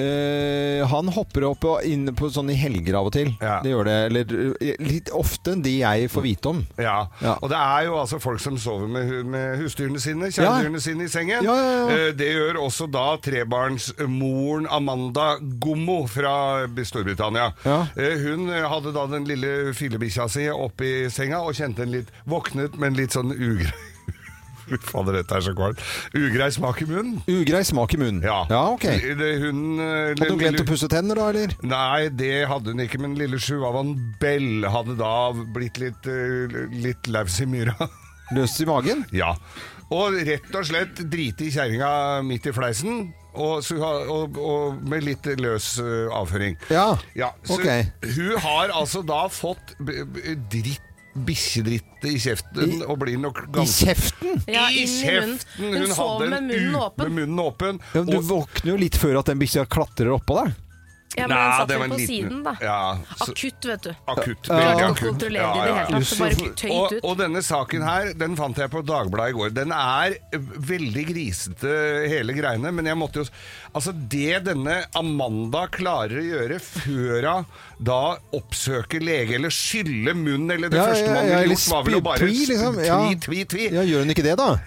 Speaker 1: Eh, han hopper opp og inn på sånn i helger av og til.
Speaker 2: Ja.
Speaker 1: Det gjør det. Eller eh, litt ofte enn de jeg får vite om.
Speaker 2: Ja.
Speaker 1: Ja.
Speaker 2: og det er jo altså folk som sover med, hu- med husdyrene sine, kjæledyrene sine i sengen.
Speaker 1: Ja, ja, ja.
Speaker 2: Eh, Det gjør også da trebarnsmoren Amanda Gommo fra Storbritannia.
Speaker 1: Ja.
Speaker 2: Eh, Hun hadde da den lille fillebikkja si oppi senga og kjente en litt våknet, men litt sånn ugrei Fy fader, dette er så kvalmt. Ugrei smak i munnen.
Speaker 1: Ugrei smak i munnen. ok.
Speaker 2: L- det- Hun eh,
Speaker 1: Hadde hun
Speaker 2: lille-
Speaker 1: glemt å pusse tenner da, eller?
Speaker 2: Nei, det hadde hun ikke, men lille Sjuavan Bell hadde da blitt litt, eh, litt laus i myra.
Speaker 1: Løs i magen?
Speaker 2: Ja. Og rett og slett drite i kjerringa midt i fleisen. Og, så, ha- og, og med litt løs eh, avføring.
Speaker 1: Ja,
Speaker 2: så
Speaker 1: ok.
Speaker 2: Hun har altså da fått b- b- dritt, bikkjedritt i kjeften og blir nok
Speaker 1: I
Speaker 2: ganske
Speaker 1: kjeften?
Speaker 3: Ja,
Speaker 2: I
Speaker 3: inn i munnen.
Speaker 2: kjeften! Hun,
Speaker 3: Hun sov
Speaker 2: hadde
Speaker 3: med
Speaker 2: en
Speaker 3: munnen
Speaker 2: u-
Speaker 3: åpen.
Speaker 2: Med munnen åpen.
Speaker 1: Ja, men du
Speaker 2: og-
Speaker 1: våkner jo litt før at den bikkja klatrer oppå deg.
Speaker 3: Ja, men
Speaker 2: Nei,
Speaker 3: den satt
Speaker 2: det
Speaker 3: jo
Speaker 2: var en
Speaker 3: på
Speaker 2: liten-
Speaker 3: siden, da.
Speaker 2: Ja, så-
Speaker 3: Akutt, vet du.
Speaker 2: Akutt.
Speaker 3: Klarte
Speaker 2: veldig
Speaker 3: ikke å
Speaker 2: akutt.
Speaker 3: kontrollere det i det hele tatt, så bare tøyt
Speaker 2: Og,
Speaker 3: ut.
Speaker 2: og denne saken her, den fant jeg på Dagbladet i går. Den er eh, veldig grisete, hele greiene, men jeg måtte jo Altså, det denne Amanda klarer å gjøre før hun da oppsøker lege, eller skylle munn, eller det
Speaker 1: Ja,
Speaker 2: første man
Speaker 1: ja, ja,
Speaker 2: ville
Speaker 1: eller
Speaker 2: gjort, var vel å
Speaker 1: spy-
Speaker 2: bare
Speaker 1: tvi, liksom, ja.
Speaker 2: tvi, tvi, tvi.
Speaker 1: Ja, Gjør hun ikke det, da?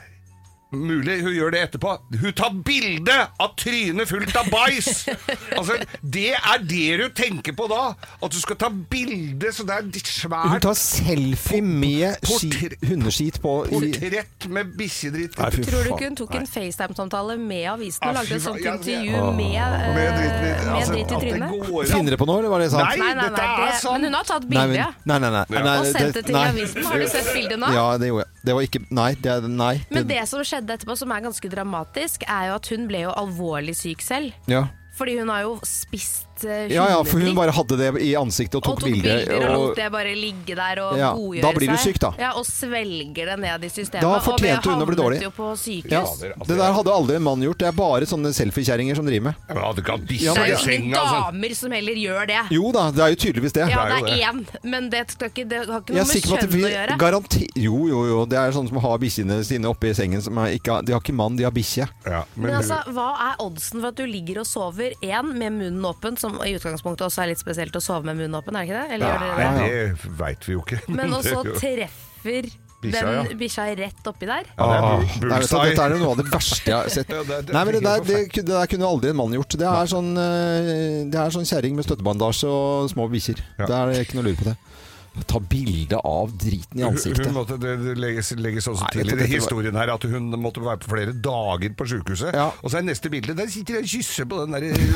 Speaker 2: Mulig hun gjør det etterpå. Hun tar bilde av trynet fullt av bæsj! Altså, det er det du tenker på da! At du skal ta bilde, så det er litt
Speaker 1: Hun
Speaker 2: svært
Speaker 1: tar selfie med skit,
Speaker 2: portre-
Speaker 1: hundeskit på i
Speaker 2: portrett med bikkjedritt.
Speaker 1: Nei, fy
Speaker 3: Tror du
Speaker 1: faen.
Speaker 3: ikke hun tok en FaceTime-samtale med avisen og
Speaker 2: Ah,
Speaker 3: lagde
Speaker 2: fy
Speaker 3: et sånt
Speaker 2: faen, ja, det-
Speaker 3: intervju med, eh,
Speaker 2: Med dritt i,
Speaker 3: med
Speaker 2: altså,
Speaker 3: dritt i
Speaker 2: at det
Speaker 3: trynet?
Speaker 2: går an.
Speaker 1: Finner dere på noe, eller var det sant?
Speaker 2: Nei,
Speaker 3: Nei, nei, nei,
Speaker 2: dette er
Speaker 3: det,
Speaker 2: sant.
Speaker 3: men hun har tatt
Speaker 1: Nei,
Speaker 3: bilde,
Speaker 1: men-
Speaker 3: ja.
Speaker 1: nei, nei, nei, nei,
Speaker 3: Og sendt det til
Speaker 1: nei.
Speaker 3: avisen. Har du sett bildet nå?
Speaker 1: Ja, det gjorde jeg. Det var ikke Nei. Det, er- nei,
Speaker 3: Men det som skjedde etterpå, som er ganske dramatisk, er jo at hun ble jo alvorlig syk selv.
Speaker 1: ja.
Speaker 3: Fordi hun har jo spist eh,
Speaker 1: ja ja, for hun
Speaker 3: hundedritt,
Speaker 1: bare hadde det i ansiktet og
Speaker 3: og
Speaker 1: tok,
Speaker 3: tok bilder, og lot
Speaker 1: og-
Speaker 3: det bare ligge der og
Speaker 1: Ja,
Speaker 3: godgjøre seg.
Speaker 1: da blir du syk, da.
Speaker 3: Ja, Og svelger det ned i systemet.
Speaker 1: Da fortjente hun å bli dårlig.
Speaker 3: Og ble havnet jo på sykehus.
Speaker 1: ja.
Speaker 2: altså,
Speaker 1: Det der hadde aldri en mann gjort. Det er bare sånne selfiekjerringer som driver med.
Speaker 2: Jeg hadde ikke hatt
Speaker 1: Ja,
Speaker 2: bikkje
Speaker 3: Det er
Speaker 2: i
Speaker 3: jo
Speaker 2: senga.
Speaker 3: ingen
Speaker 2: altså.
Speaker 3: damer som heller gjør det.
Speaker 1: Jo da, det er jo tydeligvis det.
Speaker 3: Ja,
Speaker 2: det
Speaker 3: det
Speaker 2: er jo
Speaker 3: er én, men det, skal ikke, det har ikke
Speaker 1: Jeg
Speaker 3: noe
Speaker 1: er
Speaker 3: med
Speaker 1: sikker på at
Speaker 3: kjønn
Speaker 1: vi
Speaker 3: å gjøre.
Speaker 1: garanti... Jo, jo, jo. Det er sånne som har bikkjene sine oppe i sengen. Som er ikke, de har ikke mann, de har bikkje.
Speaker 2: Ja, men hun-
Speaker 3: Men altså, Hva er oddsen for at du ligger og sover én med munnen åpen, som i utgangspunktet også er litt spesielt å sove med munnen åpen, er det ikke det? Eller gjør dere det?
Speaker 2: Nei, det veit vi jo ikke.
Speaker 3: Men
Speaker 2: det-
Speaker 3: også treffer
Speaker 2: Bikkja, ja.
Speaker 3: den bikkja rett oppi der.
Speaker 2: ja, det er
Speaker 1: Ah,
Speaker 2: bull-
Speaker 1: det er- vet du,
Speaker 2: bullseye.
Speaker 1: dette er jo noe av det verste jeg har sett.
Speaker 2: Ja, det er- det
Speaker 1: Nei, men det der,
Speaker 2: er
Speaker 1: det, ku- det der kunne aldri en mann gjort. Det er sånn, eh, det er sånn kjerring med støttebandasje og små bikkjer.
Speaker 2: Ja.
Speaker 1: Det er ikke noe å lure på det. Ta bilde av driten i
Speaker 2: Hun,
Speaker 1: ansiktet.
Speaker 2: hun måtte, det det legges, legges også
Speaker 1: Nei,
Speaker 2: til
Speaker 1: dette-
Speaker 2: i
Speaker 1: dette var-
Speaker 2: historien her at hun måtte være på flere dager på sykehuset.
Speaker 1: Ja.
Speaker 2: Og så er neste bilde Der sitter jeg og kysser på den der døde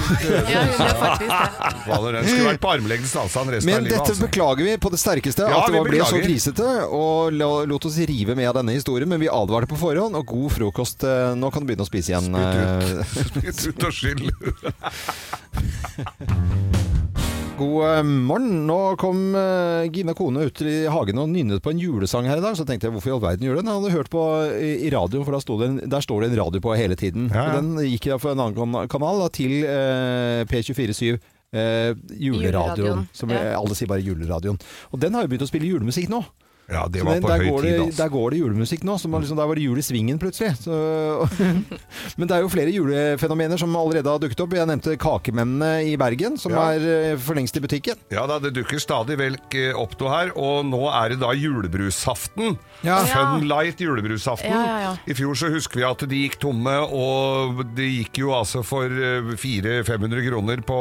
Speaker 3: Ja, hun gjør faktisk det.
Speaker 2: Fader, Den skulle vært på armlengdes avstand resten
Speaker 1: Men
Speaker 2: av livet.
Speaker 1: dette
Speaker 2: altså.
Speaker 1: beklager vi på det sterkeste,
Speaker 2: Ja,
Speaker 1: at det
Speaker 2: vi
Speaker 1: var- ble så
Speaker 2: beklager.
Speaker 1: grisete. Og la- lot oss rive med av denne historien, men vi advarte på forhånd. Og god frokost. eh, Nå kan du begynne å spise igjen. eh,
Speaker 2: Spytt ut og skyld.
Speaker 1: God eh, morgen. Nå kom eh, Gina Kone ut i hagen og nynnet på en julesang her i dag. Så tenkte jeg hvorfor i all verden gjør den? Jeg hadde hørt på i i radioen, for da sto det en, der står det en radio på hele tiden.
Speaker 2: Ja, ja.
Speaker 1: Og den gikk da fra en annen kan- kanal da, til eh, P247. Eh, juleradioen.
Speaker 3: Juleradioen,
Speaker 1: Som
Speaker 3: ja.
Speaker 1: Alle sier bare juleradioen. Og den har jo begynt å spille julemusikk nå.
Speaker 2: Ja, det
Speaker 1: Så
Speaker 2: var
Speaker 1: den-
Speaker 2: på
Speaker 1: der,
Speaker 2: høy
Speaker 1: går
Speaker 2: tid,
Speaker 1: det,
Speaker 2: altså.
Speaker 1: der går det julemusikk nå. Så man liksom, der var det jul i svingen plutselig. Så, men det er jo flere julefenomener som allerede har dukket opp. Jeg nevnte Kakemennene i Bergen, som
Speaker 2: Ja.
Speaker 1: er eh, for lengst i butikken.
Speaker 2: Ja da, det dukker stadig vekk eh, opp noe her, og nå er det da julebrusaften.
Speaker 1: Ja.
Speaker 2: Funlight julebrusaften.
Speaker 3: Ja, ja, ja.
Speaker 2: I fjor så husker vi at de gikk tomme, og det gikk jo altså for eh, 400-500 kroner på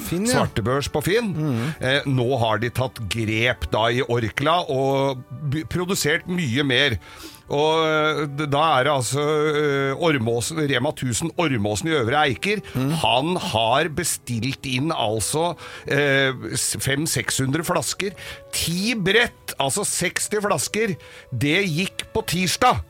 Speaker 1: Finn, ja. Mm.
Speaker 2: svartebørs på Finn. Eh, nå har de tatt grep da i Orkla, og by- produsert mye mer. Og eh, d- da er det altså eh, Ormåsen, Rema 1000 Ormåsen i Øvre Eiker.
Speaker 1: Mm.
Speaker 2: Han har bestilt inn altså eh, s- 500-600 flasker. Ti brett, altså 60 flasker. Det gikk på tirsdag.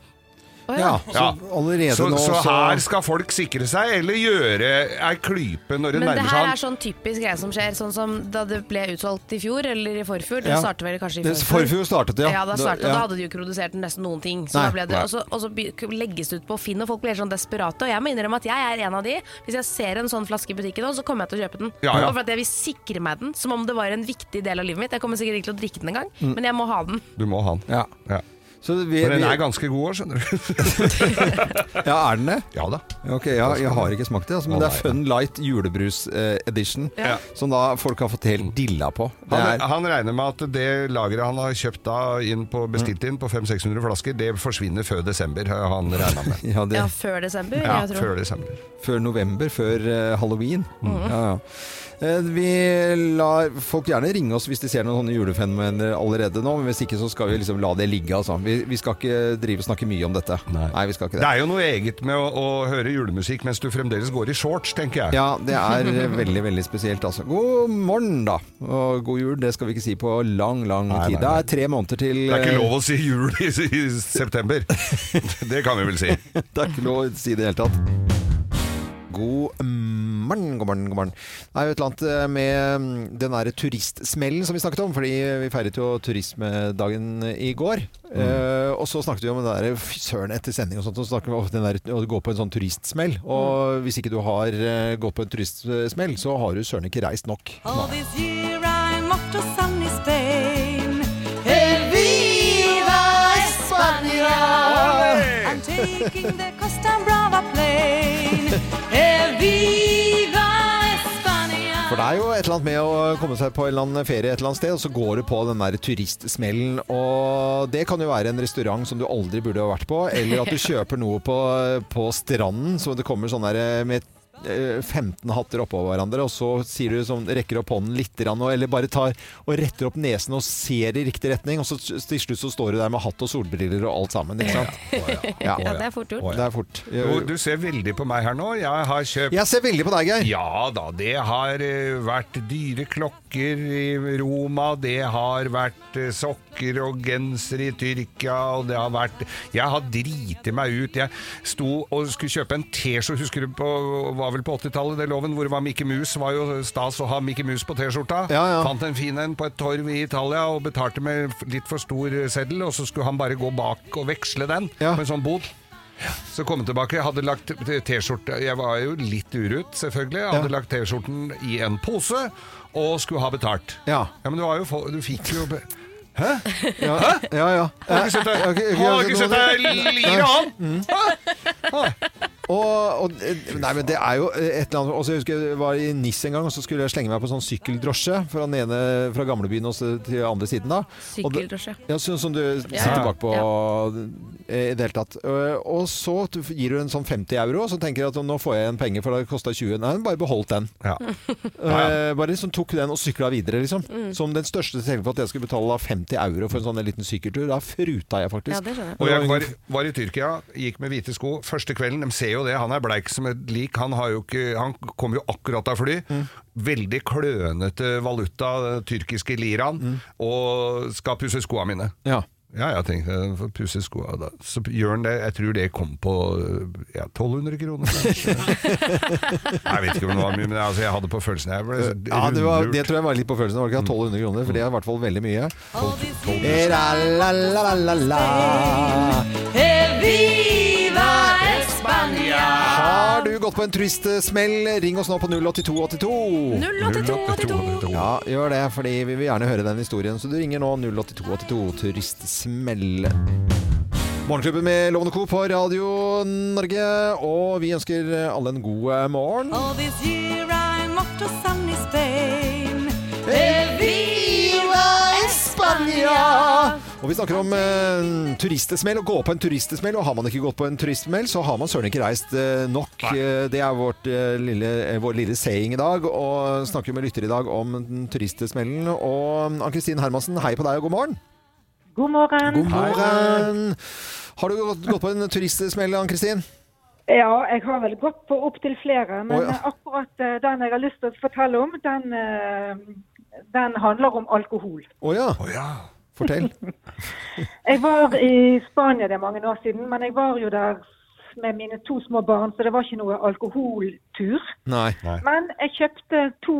Speaker 3: Å, ja.
Speaker 1: Ja, så
Speaker 2: Ja.
Speaker 1: allerede
Speaker 2: så,
Speaker 1: nå
Speaker 2: så her skal folk sikre seg, eller gjøre ei klype når det
Speaker 3: Men det
Speaker 2: nærmer
Speaker 3: her er
Speaker 2: seg.
Speaker 3: sånn typisk greie som skjer, sånn som da det ble utsolgt i fjor, eller i forfjor. Det
Speaker 1: Ja.
Speaker 3: startet vel kanskje i
Speaker 1: Det-
Speaker 3: forfjor.
Speaker 1: forfjor startet det, ja.
Speaker 3: ja. da, startet,
Speaker 1: Da- ja.
Speaker 3: da hadde de jo ikke produsert nesten noen ting. Så
Speaker 1: Nei,
Speaker 3: da ble det, og så, og så by- legges det ut på Finn, og folk blir helt sånn desperate. Og jeg må innrømme at jeg er en av de. Hvis jeg ser en sånn flaske i butikken nå, så kommer jeg til å kjøpe den.
Speaker 2: Ja, ja.
Speaker 3: Og for at jeg vil sikre meg den, som om det var en viktig del av livet mitt. Jeg kommer sikkert ikke til å drikke den engang,
Speaker 1: Mm.
Speaker 3: men jeg må ha den.
Speaker 2: Du må ha den.
Speaker 1: Ja.
Speaker 2: Ja.
Speaker 1: Så vi,
Speaker 2: Men den
Speaker 1: vi,
Speaker 2: er ganske god òg, skjønner du.
Speaker 1: ja, er den det?
Speaker 2: ja da.
Speaker 1: Ok, ja, jeg har ikke smakt det, altså, men
Speaker 2: Å,
Speaker 1: det er Fun Light julebrus eh, edition.
Speaker 2: Ja.
Speaker 1: Som da folk har fått helt dilla på. Det
Speaker 2: Han,
Speaker 1: er,
Speaker 2: han regner med at det lageret han har kjøpt da inn på, bestilt inn på 500-600 flasker, det forsvinner før desember, har han regna med.
Speaker 1: ja, det,
Speaker 3: Ja, før desember, vil
Speaker 2: Ja,
Speaker 3: jeg tro.
Speaker 2: før desember. Mm.
Speaker 1: før november, før eh, halloween. Ja, ja. Eh, Vi lar folk gjerne ringe oss hvis de ser noen sånne julefenomener allerede nå, men hvis ikke så skal vi liksom la det ligge. Altså. Vi, vi skal ikke drive og snakke mye om dette.
Speaker 2: Nei.
Speaker 1: vi skal ikke
Speaker 2: Det
Speaker 1: det.
Speaker 2: er jo noe eget med å, å høre julemusikk mens du fremdeles går i shorts, tenker jeg.
Speaker 1: Ja, det er eh, veldig, veldig spesielt. Altså. God morgen, da. Og god jul, det skal vi ikke si på lang, lang
Speaker 2: Nei, nei,
Speaker 1: tid. Det
Speaker 2: nei.
Speaker 1: er tre måneder til eh,
Speaker 2: Det er ikke lov å si jul i, i september. Det kan vi vel si.
Speaker 1: Det er ikke lov å si det i det hele tatt. God morgen, god morgen, god morgen. Det er jo et eller annet eh, med mm, den derre turistsmellen som vi snakket om, fordi vi feiret jo turismedagen i går. Eh, og så snakket vi om den derre fy søren etter sending og sånt, og så snakket vi om den der å gå på en sånn turistsmell. Og hvis ikke du har eh, gått på en turistsmell, så har du søren ikke reist nok.
Speaker 4: All this year I'm off to sunny Spain. Viva España! I'm taking the Costa Brava plane. Viva España!
Speaker 1: For det er jo et eller annet med å komme seg på en eller annen ferie et eller annet sted, og så går du på den der turistsmellen. Og det kan jo være en restaurant som du aldri burde ha vært på, eller at du kjøper noe på, på stranden, så det kommer sånn der med eh, 15 hatter oppå hverandre, og så sier du sånn, rekker opp hånden litt, grann, og- eller bare tar og retter opp nesen og ser i riktig retning, og så til slutt så står du der med hatt og solbriller og alt sammen, ikke sant? Ja,
Speaker 3: Ja, det er fort gjort.
Speaker 1: det er fort.
Speaker 2: Jo, Du ser veldig på meg her nå. Jeg har kjøpt
Speaker 1: Jeg ser veldig på deg, Geir.
Speaker 2: Ja da, det har eh, vært dyre klokker i Roma, det har vært eh, sokker og genser i Tyrkia, og det har vært Jeg har driti meg ut. Jeg sto og skulle kjøpe en T-skjorte, husker du på, var vel på 80-tallet, det loven, hvor det var Mickey Mouse, var jo stas å ha Mickey Mouse på T-skjorta.
Speaker 1: Ja, ja.
Speaker 2: Fant en fin en på et torv i Italia og betalte med f- litt for stor eh, seddel, og så skulle han bare gå bak og veksle den
Speaker 1: Ja.
Speaker 2: med en sånn bod. Så kom jeg tilbake, jeg hadde lagt t-skjorte Jeg var jo litt urut selvfølgelig Jeg hadde
Speaker 1: Ja.
Speaker 2: lagt t-skjorten i en pose Og skulle ha betalt
Speaker 1: Ja.
Speaker 2: men du, var jo, få- du fikk jo be-
Speaker 1: Ja, ja, ja.
Speaker 2: Har du ikke sett deg
Speaker 1: Ok, ok,
Speaker 2: Har du
Speaker 1: ok,
Speaker 2: ikke sett deg lire an
Speaker 1: Mm. Og, og, eh, nei, men det er jo eh, et eller annet også, Jeg husker jeg var i Niss en gang, og så skulle jeg slenge meg på en sånn sykkeldrosje fra den ene fra gamlebyen og så til andre siden. da Og det-
Speaker 3: Sykkeldrosje.
Speaker 1: Ja, sånn som du sitter
Speaker 2: Ja.
Speaker 1: bakpå eh, i det hele tatt. Eh, Og så t- gir du en sånn 50 euro, og så tenker jeg at nå får jeg igjen penger, for det kosta 20. Nei, bare beholdt den.
Speaker 2: ja.
Speaker 1: Eh, Bare liksom tok den og sykla videre, liksom.
Speaker 3: Mm.
Speaker 1: Som den største selv på at jeg skulle betale 50 euro for en sånn liten sykkeltur. Da fruta jeg faktisk.
Speaker 3: Ja, det skjønner jeg.
Speaker 2: Og jeg var, var i Tyrkia, gikk med hvite sko Første kvelden, de ser jo det, han er bleik som et lik Han, har jo ikke, han kom jo akkurat av fly
Speaker 1: Mm.
Speaker 2: Veldig klønete valuta den Tyrkiske liran
Speaker 1: Mm.
Speaker 2: Og skal pusse skoene mine
Speaker 1: Ja.
Speaker 2: Ja, jeg tenkte jeg får pusse skoa da. Så gjør han det, jeg tror det kom på eh, ja, 1200 kroner. kanskje. jeg vet ikke om det var mye, men altså, jeg hadde på følelsen jeg ble
Speaker 1: Ja, det, var,
Speaker 2: rundlurt.
Speaker 1: det tror jeg var litt på følelsen. Det var ikke 1200 kroner, for det er i hvert fall veldig mye.
Speaker 4: All this
Speaker 1: Eh,
Speaker 4: year
Speaker 1: la, la, la, la, la, la.
Speaker 4: Viva España!
Speaker 1: Har du gått på en turistsmell? Ring oss nå på 08282.
Speaker 3: 08282.
Speaker 1: Ja, gjør det, fordi vi vil gjerne høre den historien. Så du ringer nå 08282 turistsmell. Morgenklubben med Lovende Co på Radio Norge, og vi ønsker alle en god eh, morgen.
Speaker 4: All this year I'm off to sunny Spain.
Speaker 1: Og vi snakker om eh, turistesmell, å gå på en turistesmell. Og har man ikke gått på en turistsmell, så har man søren ikke reist eh, nok. Eh, det er vårt, eh, lille, eh, vår lille saying i dag. Og snakker med lytter i dag om den turistesmellen. Og eh, Ann-Kristin Hermansen, hei på deg og god morgen.
Speaker 6: God morgen.
Speaker 1: God morgen. Har du gått, gått på en turistsmell, Ann-Kristin?
Speaker 6: Ja, jeg har vel gått på opptil flere, men
Speaker 1: Å, ja.
Speaker 6: akkurat eh, den jeg har lyst til å fortelle om, den, eh, den handler om alkohol.
Speaker 1: Å ja,
Speaker 2: Å ja.
Speaker 1: fortell.
Speaker 6: Jeg var i Spania det er mange år siden, men jeg var jo der med mine to små barn, så det var ikke noe alkoholtur.
Speaker 1: Nei.
Speaker 6: Men jeg kjøpte to,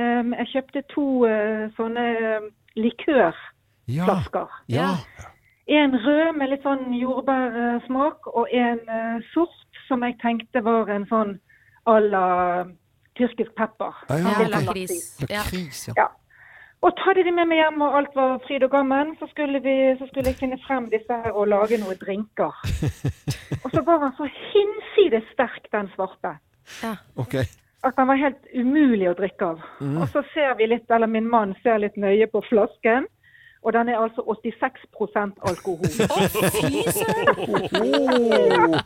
Speaker 6: em, jeg kjøpte to eh, sånne eh, likørflasker.
Speaker 1: Ja. ja.
Speaker 6: En rød med litt sånn jordbærsmak, og en eh, sort som jeg tenkte var en sånn à la tyrkisk pepper.
Speaker 1: Ja, ja,
Speaker 3: Ja,
Speaker 1: ok.
Speaker 3: lakris. Ja.
Speaker 1: Lakris, ja.
Speaker 6: Ja. Og hadde de med meg hjem, og alt var fryd og gammen, så skulle, vi, så skulle jeg finne frem disse her og lage noen drinker. Og så var han så hinsides sterk, den svarte,
Speaker 1: Ok.
Speaker 6: at den var helt umulig å drikke av.
Speaker 1: Mm.
Speaker 6: Og så ser vi litt, eller min mann ser litt nøye på flasken, og den er altså 86 alkohol.
Speaker 3: Å, fy søren!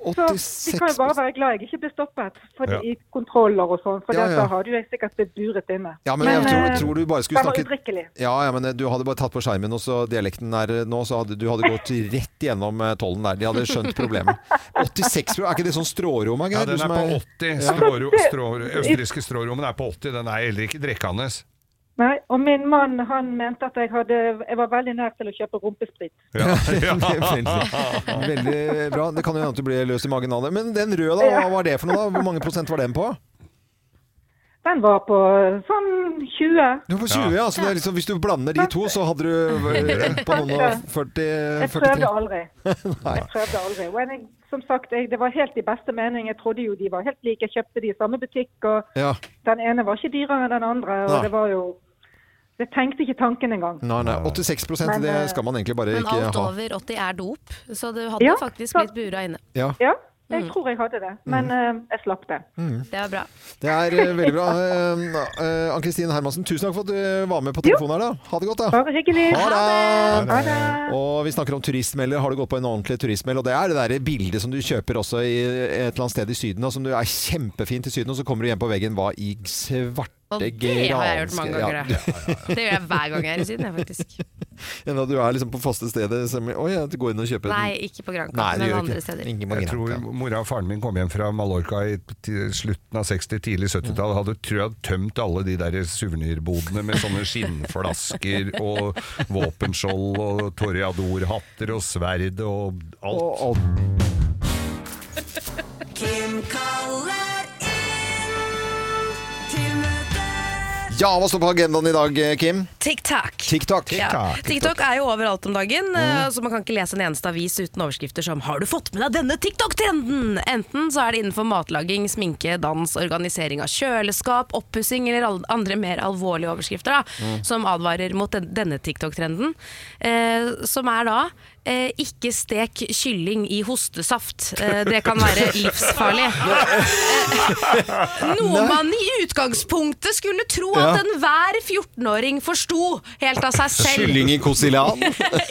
Speaker 1: Åh.
Speaker 6: Så vi kan jo bare være glad jeg ikke ble stoppet for
Speaker 2: Ja.
Speaker 6: i kontroller og sånn, for
Speaker 1: Ja,
Speaker 6: da
Speaker 1: ja.
Speaker 6: hadde jo jeg sikkert blitt buret inne.
Speaker 1: Ja, men jeg tror,
Speaker 6: eh,
Speaker 1: tror du bare skulle
Speaker 6: det var
Speaker 1: snakke
Speaker 6: udrikkelig.
Speaker 1: Ja, ja, men eh, du hadde bare tatt på skjermen, og så dialekten er eh, nå, så hadde du hadde gått rett gjennom eh, tollen der. De hadde skjønt problemet. 86 pro- Er ikke det sånn strårom,
Speaker 2: Ja,
Speaker 1: Geir?
Speaker 2: den
Speaker 1: Du
Speaker 2: er
Speaker 1: som
Speaker 2: på 80. Stråro, stråro, østerrikske strårommen er på 80. Den er heller ikke drikkende.
Speaker 6: Nei, og min mann han mente at jeg, hadde, jeg var veldig nær til å kjøpe rumpesprit.
Speaker 2: Ja. Ja.
Speaker 1: veldig, veldig bra. Det kan jo hende at du blir løs i magen av det. Men den røde, da, hva var det for noe? da? Hvor mange prosent var den på?
Speaker 6: Den var på eh, sånn 20.
Speaker 1: Du var på 20, ja. Så det er liksom, hvis du blander de to, så hadde du eh, rent på noen og 40
Speaker 6: Jeg prøvde
Speaker 1: 43.
Speaker 6: aldri. Jeg prøvde aldri. Og jeg, som sagt, jeg, det var helt i beste mening. Jeg trodde jo de var helt like. Jeg kjøpte de i samme butikk, og
Speaker 1: Ja.
Speaker 6: den ene var ikke dyrere enn den andre. Og
Speaker 1: Nei.
Speaker 6: det var jo Jeg tenkte ikke tanken engang.
Speaker 1: Nei, nei. 86
Speaker 6: Men,
Speaker 1: det
Speaker 6: eh,
Speaker 1: skal man egentlig bare
Speaker 3: Men
Speaker 1: ikke
Speaker 3: alt
Speaker 1: ha.
Speaker 3: over 80 er dop, så du hadde
Speaker 6: Ja,
Speaker 3: faktisk
Speaker 6: så-
Speaker 3: blitt bura inne. Mm.
Speaker 1: Ja. Mm.
Speaker 6: Ja, jeg tror jeg hadde det. Men eh, jeg slapp det.
Speaker 3: Det er bra.
Speaker 1: Det er eh, veldig bra. Eh, eh, Ann-Kristin Hermansen, tusen takk for at du eh, var med på telefonen her. da. Ha det godt, da.
Speaker 6: Bare hyggelig.
Speaker 1: Ha det!
Speaker 6: Ha det.
Speaker 1: Og vi snakker om turistmelder. Har du gått på en ordentlig turistmeld? Og det er det der bildet som du kjøper også i et eller annet sted i Syden, og som du er kjempefint i Syden, og så kommer du hjem på veggen Hva i
Speaker 3: Og
Speaker 1: svarte
Speaker 3: det, har jeg gjort
Speaker 1: granske-
Speaker 3: mange ganger.
Speaker 1: Ja,
Speaker 3: det. Det gjør jeg hver gang jeg er i Syden, jeg, faktisk.
Speaker 1: Enn at du er liksom på faste stedet som Å ja, du går inn og kjøper
Speaker 3: Nei, ikke på Granca,
Speaker 1: Nei, det
Speaker 3: men
Speaker 1: gjør
Speaker 3: andre
Speaker 1: ikke.
Speaker 3: steder.
Speaker 1: Ingen
Speaker 2: Jeg
Speaker 1: marginer.
Speaker 2: tror mora og faren min kom hjem fra Mallorca i til slutten av 60, tidlig 70-tallet. Hadde tror jeg tømt alle de der suvenirbodene med sånne skinnflasker og våpenskjold og toreadorhatter og sverd og alt.
Speaker 1: Og, og
Speaker 4: Kim kaller inn til møte.
Speaker 1: Ja, hva står på agendaen i dag, eh, Kim?
Speaker 3: TikTok.
Speaker 1: TikTok. Mm.
Speaker 3: Ja. TikTok er jo overalt om dagen, eh, så man kan ikke lese en eneste avis uten overskrifter som 'Har du fått med deg denne TikTok-trenden?' Enten så er det innenfor matlaging, sminke, dans, organisering av kjøleskap, oppussing eller al- andre mer alvorlige overskrifter da,
Speaker 1: Mm.
Speaker 3: som advarer mot den, denne TikTok-trenden. eh, som er da eh, 'Ikke stek kylling i hostesaft'. Eh, det kan være livsfarlig. Noe man i utgangspunktet skulle tro at
Speaker 1: Ja.
Speaker 3: enhver 14-åring forsto helt av seg selv.
Speaker 1: Kylling i kosilan.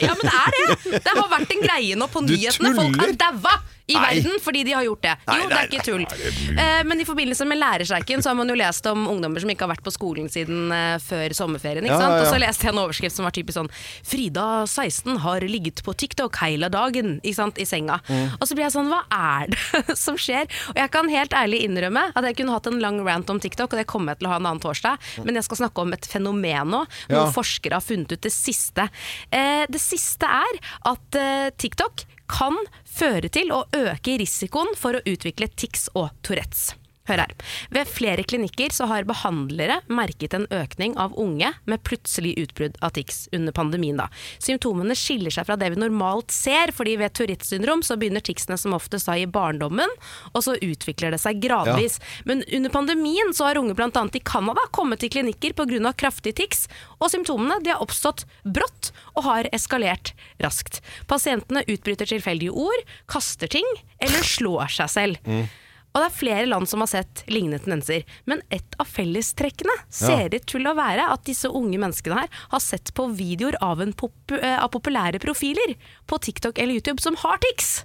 Speaker 3: Ja, men det er det! Det har vært en greie nå på
Speaker 1: Du
Speaker 3: nyhetene. Folk
Speaker 1: tuller?
Speaker 3: er daua i
Speaker 1: Nei.
Speaker 3: verden fordi de har gjort det. Jo, det er ikke tull. Eh, Men i forbindelse med lærerstreiken så har man jo lest om ungdommer som ikke har vært på skolen siden eh, før sommerferien.
Speaker 1: Ja,
Speaker 3: Ikke sant?
Speaker 1: ja, ja.
Speaker 3: Og så leste jeg en overskrift som var typisk sånn Frida 16 har ligget på TikTok hele dagen ikke sant? i senga.
Speaker 1: Mm.
Speaker 3: Og så blir jeg sånn Hva er det som skjer? Og jeg kan helt ærlig innrømme at jeg kunne hatt en lang rant om TikTok, og det kommer jeg til å ha en annen torsdag, men jeg skal snakke om et fenomen nå. Noe
Speaker 1: Ja.
Speaker 3: forskere har funnet ut det siste. Eh, det siste er at eh, TikTok kan føre til å øke risikoen for å utvikle tics og Tourettes. Hør her. Ved flere klinikker så har behandlere merket en økning av unge med plutselig utbrudd av tics under pandemien. Da. Symptomene skiller seg fra det vi normalt ser, fordi ved Tourettes syndrom så begynner ticsene som oftest da i barndommen, og så utvikler det seg gradvis. Men under pandemien så har unge bl.a. i Canada kommet til klinikker pga. kraftig tics, og symptomene de har oppstått brått og har eskalert raskt. Pasientene utbryter tilfeldige ord, kaster ting eller slår seg selv.
Speaker 1: Mm.
Speaker 3: Og det er flere land som har sett lignende tendenser. Men et av fellestrekkene ser ut til å være at disse unge menneskene her har sett på videoer av, en popu eh, av populære profiler på TikTok eller YouTube som har tics.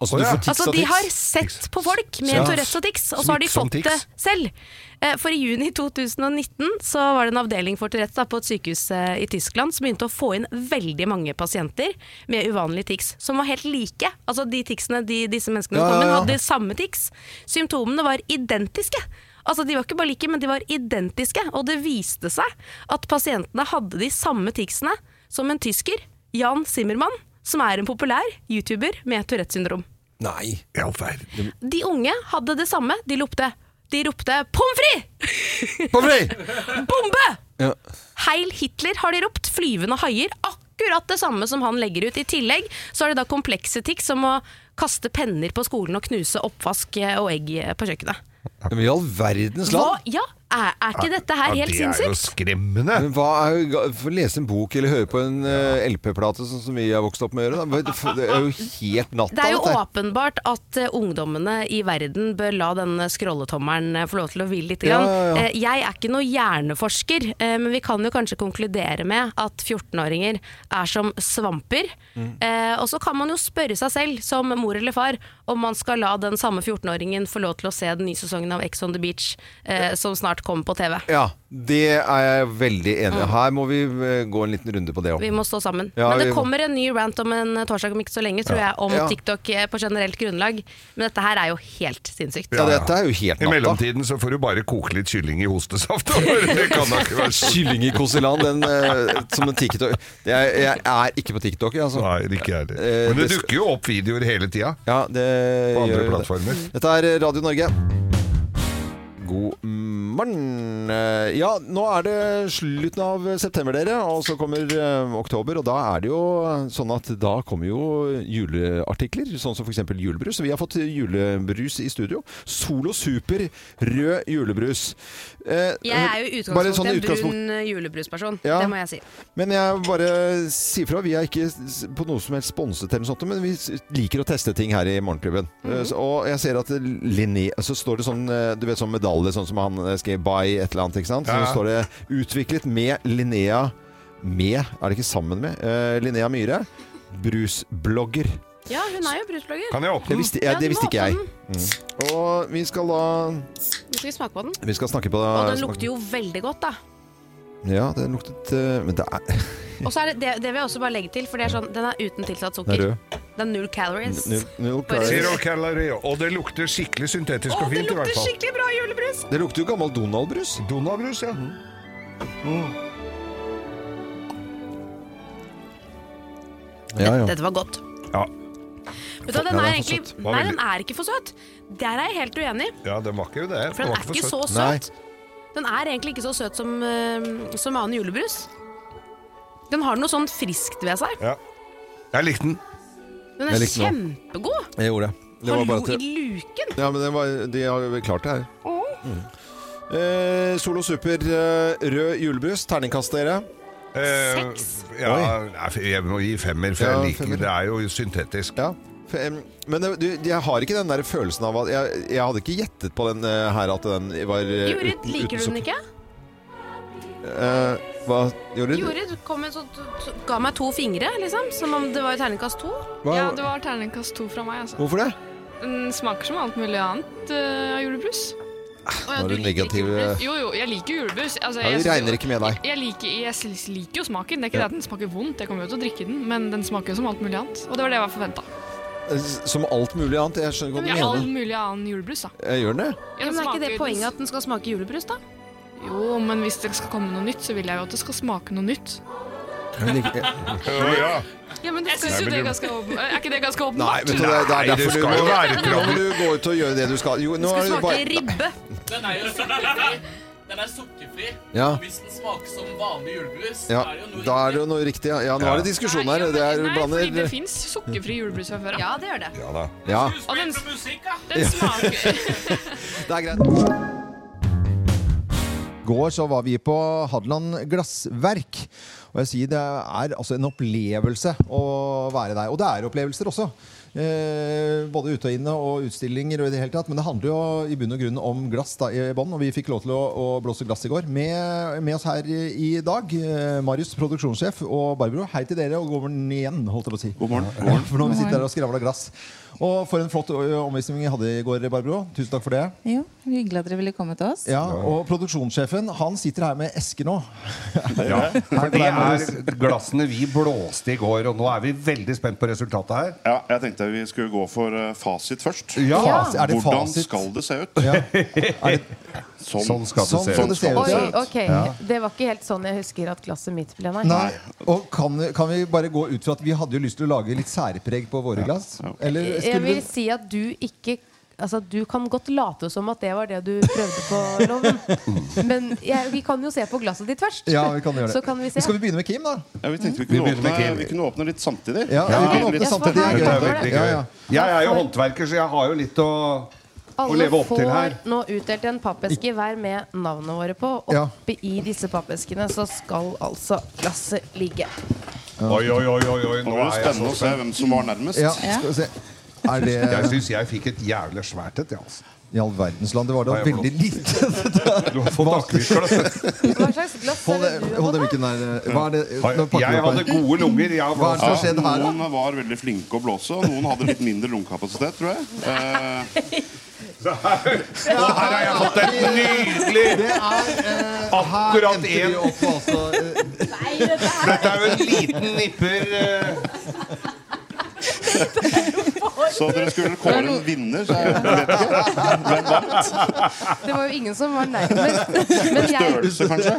Speaker 1: Altså, du får tics
Speaker 3: Altså,
Speaker 1: av
Speaker 3: de
Speaker 1: tics.
Speaker 3: har sett på folk med
Speaker 1: Ja.
Speaker 3: Tourettes og tics, og så har de
Speaker 2: Smittsom
Speaker 3: fått det
Speaker 2: tics.
Speaker 3: selv. Eh, For i juni 2019 så var det en avdeling for Tourettes da, på et sykehus eh, i Tyskland som begynte å få inn veldig mange pasienter med uvanlige tics, som var helt like. Altså de ticsene de, disse menneskene
Speaker 1: Ja, ja,
Speaker 3: kom med,
Speaker 1: ja.
Speaker 3: hadde samme tics. Symptomene var identiske. Altså De var ikke bare like, men de var identiske, og det viste seg at pasientene hadde de samme ticsene som en tysker, Jan Zimmermann, som er en populær YouTuber med Tourettes syndrom.
Speaker 1: Nei.
Speaker 2: I all verden.
Speaker 3: De unge hadde det samme. De ropte de ropte 'pommes frites'! Bombe!
Speaker 1: Ja.
Speaker 3: Heil Hitler har de ropt. Flyvende haier. Akkurat det samme som han legger ut. I tillegg så er det da komplekse tics som å kaste eh, penner på skolen og knuse oppvask og egg på kjøkkenet.
Speaker 1: Men i all verdens
Speaker 3: Hva,
Speaker 1: land!
Speaker 3: ja, Er, er ikke dette her helt
Speaker 2: Det er jo
Speaker 3: sinnssykt?
Speaker 2: skremmende!
Speaker 1: Men hva er jo ga- for å lese en bok eller høre på en eh, LP-plate sånn som vi har vokst opp med å gjøre, da. Det- for Det er jo helt natta.
Speaker 3: Det er jo
Speaker 1: dette.
Speaker 3: åpenbart at eh, ungdommene i verden bør la denne scrolletommelen eh, få lov til å hvile litt.
Speaker 1: Ja,
Speaker 3: Grann.
Speaker 1: ja, ja.
Speaker 3: Eh, Jeg er ikke noe hjerneforsker, eh, men vi kan jo kanskje konkludere med at 14-åringer er som svamper.
Speaker 1: mm.
Speaker 3: Eh, Og så kan man jo spørre seg selv, som mor eller far, om man skal la den samme 14-åringen få lov til å se den nye sesongen av Ex on the Beach eh, som snart kommer på TV.
Speaker 1: Ja, det er jeg veldig enig i. Her må vi eh, gå en liten runde på det òg.
Speaker 3: Vi må stå sammen.
Speaker 1: Ja,
Speaker 3: Men
Speaker 1: vi
Speaker 3: det
Speaker 1: må-
Speaker 3: kommer en ny rant om en torsdag om ikke så lenge, tror jeg, om
Speaker 1: Ja.
Speaker 3: TikTok eh, på generelt grunnlag. Men dette her er jo helt sinnssykt.
Speaker 1: Ja, dette er jo helt
Speaker 2: I
Speaker 1: natta.
Speaker 2: mellomtiden så får du bare koke litt kylling i hostesaft. Det kan da ikke være sånn. så
Speaker 1: Kylling i Kosiland, den eh, som en TikTok det er, Jeg er ikke på TikTok, jeg, altså.
Speaker 2: Nei, ikke jeg heller.
Speaker 1: Eh,
Speaker 2: Men det
Speaker 1: det-
Speaker 2: dukker jo opp videoer hele tida.
Speaker 1: Ja, det
Speaker 2: På andre
Speaker 1: eh, gjør det.
Speaker 2: plattformer.
Speaker 1: Dette er Radio Norge. God morgen. Eh, Ja, nå er det slutten av september, dere. Og så kommer eh, oktober. Og da er det jo sånn at da kommer jo juleartikler. Sånn som f.eks. julebrus. Så vi har fått julebrus i studio. Solo Super rød julebrus. Eh,
Speaker 3: Jeg er jo i
Speaker 1: bare
Speaker 3: utgangspunktet
Speaker 1: sånn
Speaker 3: en
Speaker 1: utgangspunkt-
Speaker 3: brun julebrusperson,
Speaker 1: Ja.
Speaker 3: det må jeg si.
Speaker 1: men jeg bare sier fra, vi er ikke s- på noe som helst sponset eller noe sånt, men vi s- liker å teste ting her i Morgenklubben.
Speaker 2: Mhm.
Speaker 1: Eh, så- Og jeg ser at Linné, så står det sånn, eh, du vet sånn medalje, sånn som han eh, skrev by et eller annet, ikke sant? Så
Speaker 2: Ja.
Speaker 1: står det utviklet med Linnea, med, er det ikke sammen med, eh, Linnea Myhre, brusblogger.
Speaker 3: Ja, hun er jo brusblogger.
Speaker 2: Kan jeg åpne
Speaker 1: Det
Speaker 2: den?
Speaker 1: visste,
Speaker 3: Ja,
Speaker 1: jeg,
Speaker 3: du
Speaker 1: det visste
Speaker 3: må
Speaker 1: ikke jeg.
Speaker 3: åpne
Speaker 1: Mm. Og vi skal da,
Speaker 3: Nå skal vi smake på den.
Speaker 1: vi skal snakke på
Speaker 3: Og den lukter jo veldig godt, da.
Speaker 1: Ja, den luktet, eh, men det er,
Speaker 3: Og så er det, det, det vil jeg også bare legge til, for det er sånn, den er uten tilsatt
Speaker 1: den er
Speaker 3: sukker.
Speaker 1: rød.
Speaker 3: Det er null calories.
Speaker 1: Null- null
Speaker 3: Bare-
Speaker 1: calories.
Speaker 2: Zero calorie, og det lukter skikkelig syntetisk
Speaker 3: Å,
Speaker 2: og
Speaker 3: det
Speaker 2: fint i hvert
Speaker 3: lukter
Speaker 2: fall.
Speaker 3: skikkelig bra julebrus!
Speaker 1: Det lukter jo gammel Donald-brus. Mm.
Speaker 2: Donaldbrus, ja.
Speaker 1: Ja, ja.
Speaker 3: Dette var godt.
Speaker 2: ja.
Speaker 3: Vet du, hva,
Speaker 1: Ja, den
Speaker 3: den er
Speaker 1: er for
Speaker 3: egentlig
Speaker 2: var
Speaker 3: Nei,
Speaker 2: veldig-
Speaker 3: den er ikke for søt. Der er jeg helt uenig,
Speaker 2: Ja, den var ikke jo det.
Speaker 3: for den er ikke så
Speaker 1: Nei.
Speaker 3: søt. Den er egentlig ikke så søt som, eh, som annen julebrus. Den har noe sånn friskt ved seg.
Speaker 2: Ja. Jeg likte den.
Speaker 3: Den
Speaker 1: Jeg
Speaker 3: er
Speaker 1: likte den
Speaker 3: kjempegod.
Speaker 1: Jeg gjorde det. Det var bare
Speaker 3: Hallo
Speaker 1: til
Speaker 3: i luken!
Speaker 1: Ja, men det var, de har vel klart det her. Mm. Eh, Solo Super eh, rød julebrus. Terningkast, dere.
Speaker 2: Eh,
Speaker 3: Seks?
Speaker 2: ja, nei, jeg må gi femmer, for
Speaker 1: Ja,
Speaker 2: jeg liker den.
Speaker 1: femmer.
Speaker 2: Det er jo syntetisk.
Speaker 1: Ja. F- em, Men det- du, jeg har ikke den der følelsen av at Jeg, jeg hadde ikke gjettet på den eh, her at den var eh, uten-
Speaker 3: Jorid,
Speaker 1: uten
Speaker 3: liker du den
Speaker 1: sukker.
Speaker 3: ikke?
Speaker 1: Eh, hva? Jorid?
Speaker 3: Jorid kom en sånn, t- ga meg to fingre, liksom, som om det var i terningkast to.
Speaker 1: Hva?
Speaker 7: Ja, det var terningkast to fra meg, altså.
Speaker 1: Hvorfor det?
Speaker 7: Den smaker som alt mulig annet eh, av julebrus. Å, ja,
Speaker 1: nå er
Speaker 7: du
Speaker 1: du
Speaker 7: liker ikke
Speaker 1: negativ,
Speaker 2: eh?
Speaker 7: julebrus. Jo, jo, jeg liker jo julebrus. Altså,
Speaker 1: Ja,
Speaker 7: jeg
Speaker 1: vi
Speaker 7: synes
Speaker 1: regner
Speaker 7: jo-
Speaker 1: ikke med deg.
Speaker 7: Jeg liker, jeg s- liker jo smaken. Det er ikke det at den smaker vondt, jeg kommer jo til å drikke den, men den smaker jo som alt mulig annet. Og det var det jeg var forventa.
Speaker 1: Eh, s- Som alt mulig annet. Jeg skjønner ikke
Speaker 7: Ja,
Speaker 1: hva du
Speaker 7: all
Speaker 1: mener.
Speaker 7: mulig annen julebrus, da.
Speaker 1: Eh, Gjør den det?
Speaker 7: Ja,
Speaker 3: Men
Speaker 7: den
Speaker 3: er ikke det
Speaker 7: smaker-
Speaker 3: poenget at den skal smake julebrus, da?
Speaker 7: Jo, men hvis det skal komme noe nytt, så vil jeg jo at det skal smake noe nytt.
Speaker 1: Jeg liker- jeg-
Speaker 2: Ja, ja.
Speaker 7: Ja, men jeg synes jo det er ganske åpen- Er ikke det ganske
Speaker 1: Nei,
Speaker 7: åpenbart?
Speaker 1: vet du, det er, det er
Speaker 2: Nei, det
Speaker 1: derfor du
Speaker 2: skal jo
Speaker 1: må,
Speaker 2: være et
Speaker 1: nå
Speaker 2: krav.
Speaker 1: må du gå ut og gjøre det du skal. Jo, nå
Speaker 3: Den
Speaker 1: er det
Speaker 3: skal smake
Speaker 1: bare
Speaker 3: ribbe.
Speaker 5: Den er jo sukkerfri. Den er sukkerfri.
Speaker 1: Ja.
Speaker 5: Hvis den smaker som vanlig julebrus,
Speaker 1: ja,
Speaker 5: er det jo noe
Speaker 1: Da er det jo noe riktig. Ja, Ja, nå er det diskusjon her. Det er
Speaker 7: Nei, fordi det
Speaker 1: blander
Speaker 7: fins sukkerfri julebrus fra før av.
Speaker 3: Ja, det gjør det.
Speaker 2: ja da.
Speaker 1: Ja,
Speaker 7: Og den,
Speaker 5: riktig. Musikk, da!
Speaker 7: den smaker
Speaker 1: det er greit.
Speaker 8: går så var vi på Hadeland Glassverk. Og jeg sier det er altså en opplevelse å være der. Og det er opplevelser også. Eh, både ute og inne og utstillinger og i det hele tatt. Men det handler jo i bunn og grunn om glass da, i bånn. Og vi fikk lov til å, å blåse glass i går. Med, med oss her i dag, eh, Marius, produksjonssjef, og Barbro. Hei til dere, og god morgen igjen, holdt jeg på å si. God morgen. Ja, for nå har vi sittet her og skravla glass. Og for en flott ø, omvisning vi hadde i går, Barbro. Tusen takk for det.
Speaker 9: Jo, hyggelig at dere ville komme til oss.
Speaker 8: Ja, og produksjonssjefen han sitter her med eske nå.
Speaker 2: Ja.
Speaker 8: Her
Speaker 2: For
Speaker 8: på
Speaker 2: det
Speaker 8: deg, Marius.
Speaker 2: er glassene vi blåste i går, og nå er vi veldig spent på resultatet her.
Speaker 10: Ja, jeg tenkte vi skulle gå for eh, fasit først.
Speaker 2: Ja.
Speaker 8: Fas- Er det
Speaker 10: Hvordan
Speaker 8: fasit?
Speaker 10: skal det se ut?
Speaker 8: Ja.
Speaker 10: Sånn.
Speaker 2: Sånn skal det
Speaker 8: Sånn
Speaker 2: se
Speaker 8: skal
Speaker 2: ut.
Speaker 8: det se ut.
Speaker 9: Oi,
Speaker 8: ja.
Speaker 9: ok. Det var ikke helt sånn jeg husker at glasset mitt ble, nei.
Speaker 8: Nei. Og kan, kan vi bare gå ut fra at vi hadde jo lyst til å lage litt særpreg på våre glass? Eller
Speaker 9: Jeg
Speaker 8: skulle
Speaker 9: vil si at du ikke Altså, Du kan godt late som at det var det du prøvde på, Loven. Men jeg, vi kan jo se på glasset ditt først.
Speaker 8: Mm. Ja, vi kan gjøre det.
Speaker 9: Så kan vi se.
Speaker 8: Men Skal vi begynne med Kim, da?
Speaker 10: Ja, vi tenkte vi
Speaker 2: Vi
Speaker 10: kunne,
Speaker 2: begynner med
Speaker 10: åpne,
Speaker 2: Kim.
Speaker 10: vi kunne åpne litt samtidig.
Speaker 8: Ja, vi kan
Speaker 10: Litt-
Speaker 8: åpne
Speaker 9: Ja,
Speaker 8: samtidig.
Speaker 9: for det er
Speaker 2: Dette er
Speaker 9: gøy.
Speaker 2: veldig
Speaker 8: Ja,
Speaker 2: gøy.
Speaker 8: ja.
Speaker 2: Jeg er jo håndverker, så jeg har jo litt å
Speaker 3: Alle får nå utdelt en pappeske hver med navnet våre på.
Speaker 1: Ja.
Speaker 3: Oppi i disse pappeskene så skal altså glasset ligge.
Speaker 2: Oi, oi, oi, oi, oi.
Speaker 10: Nå var det
Speaker 2: er jeg så
Speaker 10: spennende å se
Speaker 2: spent.
Speaker 10: hvem som var nærmest.
Speaker 1: Ja, skal vi se. Er det
Speaker 2: Jeg syns jeg fikk et jævlig svært et, jeg, altså.
Speaker 1: I all verdens land, det var
Speaker 2: Nei,
Speaker 1: da
Speaker 2: jeg
Speaker 1: veldig lite.
Speaker 2: Du har fått akevittglass.
Speaker 3: Hva slags glass
Speaker 1: Hold det, hold det mikken der. eh, Hva er det? Nå pakker vi
Speaker 2: Jeg
Speaker 1: opp
Speaker 2: hadde
Speaker 1: her.
Speaker 2: gode lunger. Jeg altså.
Speaker 1: Hva er det som har
Speaker 10: Ja,
Speaker 1: skjedd her, da?
Speaker 10: noen var veldig flinke å blåse, og noen hadde litt mindre lungekapasitet, tror jeg. Eh,
Speaker 2: Og her har jeg fått et nydelig
Speaker 1: Det er, eh, her
Speaker 2: Akkurat
Speaker 1: endte vi
Speaker 2: en.
Speaker 1: opp, altså. eh,
Speaker 2: Dette er jo en liten nipper eh,
Speaker 10: så dere skulle kåre en vinner, så jeg vet ikke. Hvem vant?
Speaker 3: Det var jo ingen som var nærmest. Men jeg,
Speaker 10: Størrelse, kanskje?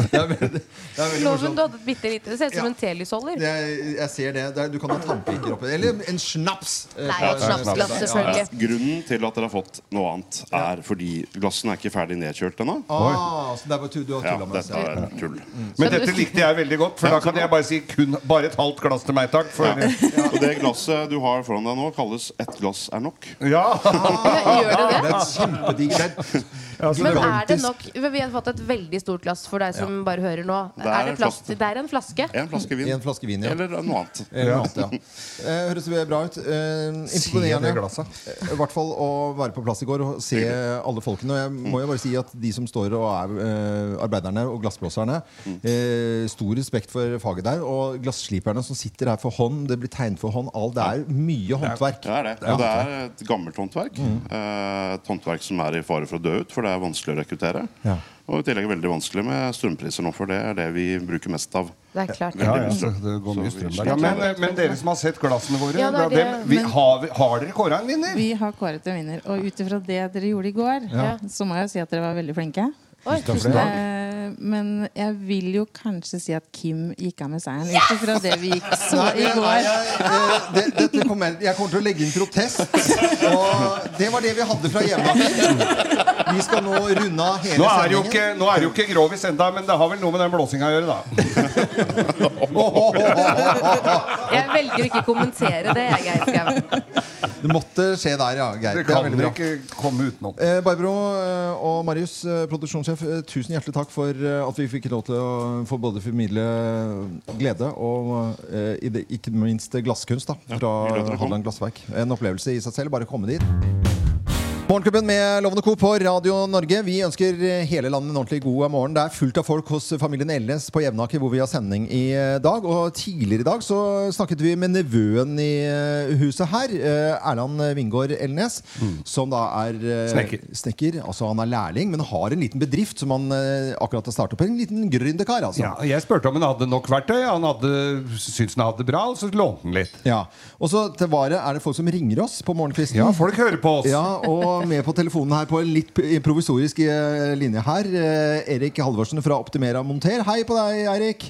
Speaker 1: Det er veldig, det er veldig
Speaker 3: loven,
Speaker 1: morsomt.
Speaker 3: du hadde et bitte lite. Det ser ut som en telysholder.
Speaker 1: Jeg, jeg ser det. det er, du kan ha tannpiker oppi. Eller en snaps. eh,
Speaker 3: Nei,
Speaker 1: på-
Speaker 3: et snapsglass, selvfølgelig.
Speaker 10: Grunnen til at dere har fått noe annet, er fordi glassene er ikke ferdig nedkjølt ennå.
Speaker 1: Ah, så det er bare tull. Du har
Speaker 10: Ja,
Speaker 1: tullet med oss,
Speaker 10: dette
Speaker 1: ja.
Speaker 10: er tull.
Speaker 2: Men dette likte jeg veldig godt, for da kan jeg bare si kun bare et halvt glass til meg, takk. For,
Speaker 10: Og det glasset du har foran deg nå, kalles 'ett glass er nok'.
Speaker 2: ja.
Speaker 3: Ja, Gjør det
Speaker 1: Ja,
Speaker 3: det?
Speaker 1: det er kjempedigg. Det er
Speaker 10: Altså,
Speaker 3: Men er det nok Vi har fått et veldig stort glass for deg som bare hører nå.
Speaker 10: Det er
Speaker 3: Er det, plass,
Speaker 10: en flaske.
Speaker 3: det er en flaske.
Speaker 10: En flaske
Speaker 1: i en
Speaker 10: vin.
Speaker 1: flaske vin, ja.
Speaker 10: Eller noe annet.
Speaker 1: Eller noe annet, ja. Eh, Høres det bra ut. Eh,
Speaker 2: det
Speaker 1: Imponerende.
Speaker 2: glasset.
Speaker 1: Eh, I hvert fall å være på plass i går og se alle folkene. Og jeg må jo bare si at de som står og er eh, arbeiderne og glassblåserne, eh, stor respekt for faget der. Og glassliperne som sitter her for hånd, det blir tegnet for hånd. All, det er mye håndverk.
Speaker 10: Det er det. Og det er et gammelt håndverk.
Speaker 1: Mm.
Speaker 10: Eh, Et håndverk som er i fare for å dø ut, for det er vanskelig å rekruttere.
Speaker 1: Ja.
Speaker 10: Og i tillegg veldig vanskelig med strømpriser nå, for det er det vi bruker mest av.
Speaker 3: Det er klart.
Speaker 2: Ja, ja, så det går mye strøm der. Ja, men, eh, men dere som har sett glassene våre,
Speaker 3: Ja, det
Speaker 2: da,
Speaker 3: er
Speaker 2: hvem,
Speaker 3: det,
Speaker 2: vi,
Speaker 11: men-
Speaker 2: har, vi- har dere kåra en vinner?
Speaker 11: Vi har kåret en vinner. Og ut ifra det dere gjorde i går,
Speaker 3: Ja.
Speaker 11: så må jeg jo si at dere var veldig flinke.
Speaker 3: Oi,
Speaker 1: Tusen takk.
Speaker 11: Eh, men jeg vil jo kanskje si at Kim gikk av med seieren, ut ifra det vi gikk så
Speaker 1: Nei,
Speaker 11: i
Speaker 1: jeg-
Speaker 11: går.
Speaker 1: jeg- eh, det- dette kommer, jeg kommer til å legge inn protest. Og det var det vi hadde fra hjemme. Vi skal nå runde av hele
Speaker 2: Nå er, det jo
Speaker 1: sendingen.
Speaker 2: ikke, nå er det jo ikke grovis enda, men det har vel noe med den blåsinga å gjøre, da.
Speaker 3: Jeg velger å ikke kommentere det, jeg, Geir Skau.
Speaker 1: Det måtte skje der, ja. Geir.
Speaker 2: Det
Speaker 1: Det er
Speaker 2: kan
Speaker 1: veldig
Speaker 2: dere
Speaker 1: bra.
Speaker 2: ikke komme utenom.
Speaker 1: Eh, Barbro eh, og Marius, eh, produksjonssjef, eh, tusen hjertelig takk for eh, at vi fikk lov til å få både formidle glede og eh, i det, ikke minst glasskunst da, fra
Speaker 10: hyggelig at dere kom.
Speaker 1: Hadeland Glassverk. En opplevelse i seg selv. Bare komme dit. Morgenklubben med Lovende Co. på Radio Norge. Vi ønsker hele landet en ordentlig god morgen. Det er fullt av folk hos familien Elnes på Jevnaker, hvor vi har sending i dag. Og tidligere i dag så snakket vi med nevøen i huset her, eh, Erland Vingård Elnes, som da er eh,
Speaker 2: Mm. Snekker.
Speaker 1: snekker. Altså han er lærling, men har en liten bedrift som han eh, akkurat har startet opp. En liten gründerkar, altså.
Speaker 2: Ja, jeg spurte om han hadde nok verktøy. Han hadde, syntes han hadde det bra, og så lånte han litt.
Speaker 1: Ja. Og så til vare er det folk som ringer oss på morgenkvisten.
Speaker 2: Ja, folk hører på oss.
Speaker 1: Ja, og med på telefonen her på en litt provisorisk eh, linje her, eh, Erik Halvorsen fra Optimera Monter. Hei på deg, Erik.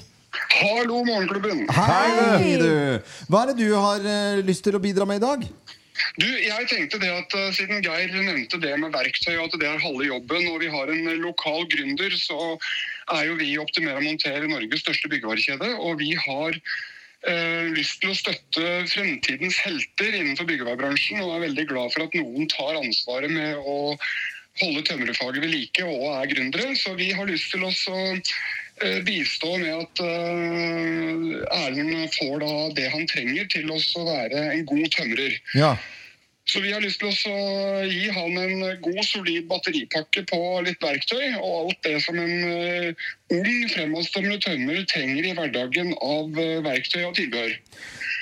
Speaker 12: Hallo, Morgenklubben.
Speaker 1: Hei, du. Hva er det du har eh, lyst til å bidra med i dag?
Speaker 12: Du, jeg tenkte det at eh, Siden Geir nevnte det med verktøy, og at det er halve jobben, og vi har en eh, lokal gründer, så er jo vi i Optimera Monter Norges største byggevarekjede. Og vi har eh, lyst til å støtte fremtidens helter innenfor byggevarebransjen, og er veldig glad for at noen tar ansvaret med å holde tømrerfaget ved like og er gründere. Så vi har lyst til også å eh, bistå med at eh, Erlend får da det han trenger til også å være en god tømrer.
Speaker 1: Ja.
Speaker 12: Så vi har lyst til også å gi han en god, solid batteripakke på litt verktøy, og alt det som en eh, ung, fremadstormende tømrer trenger i hverdagen av eh, verktøy og tilbehør.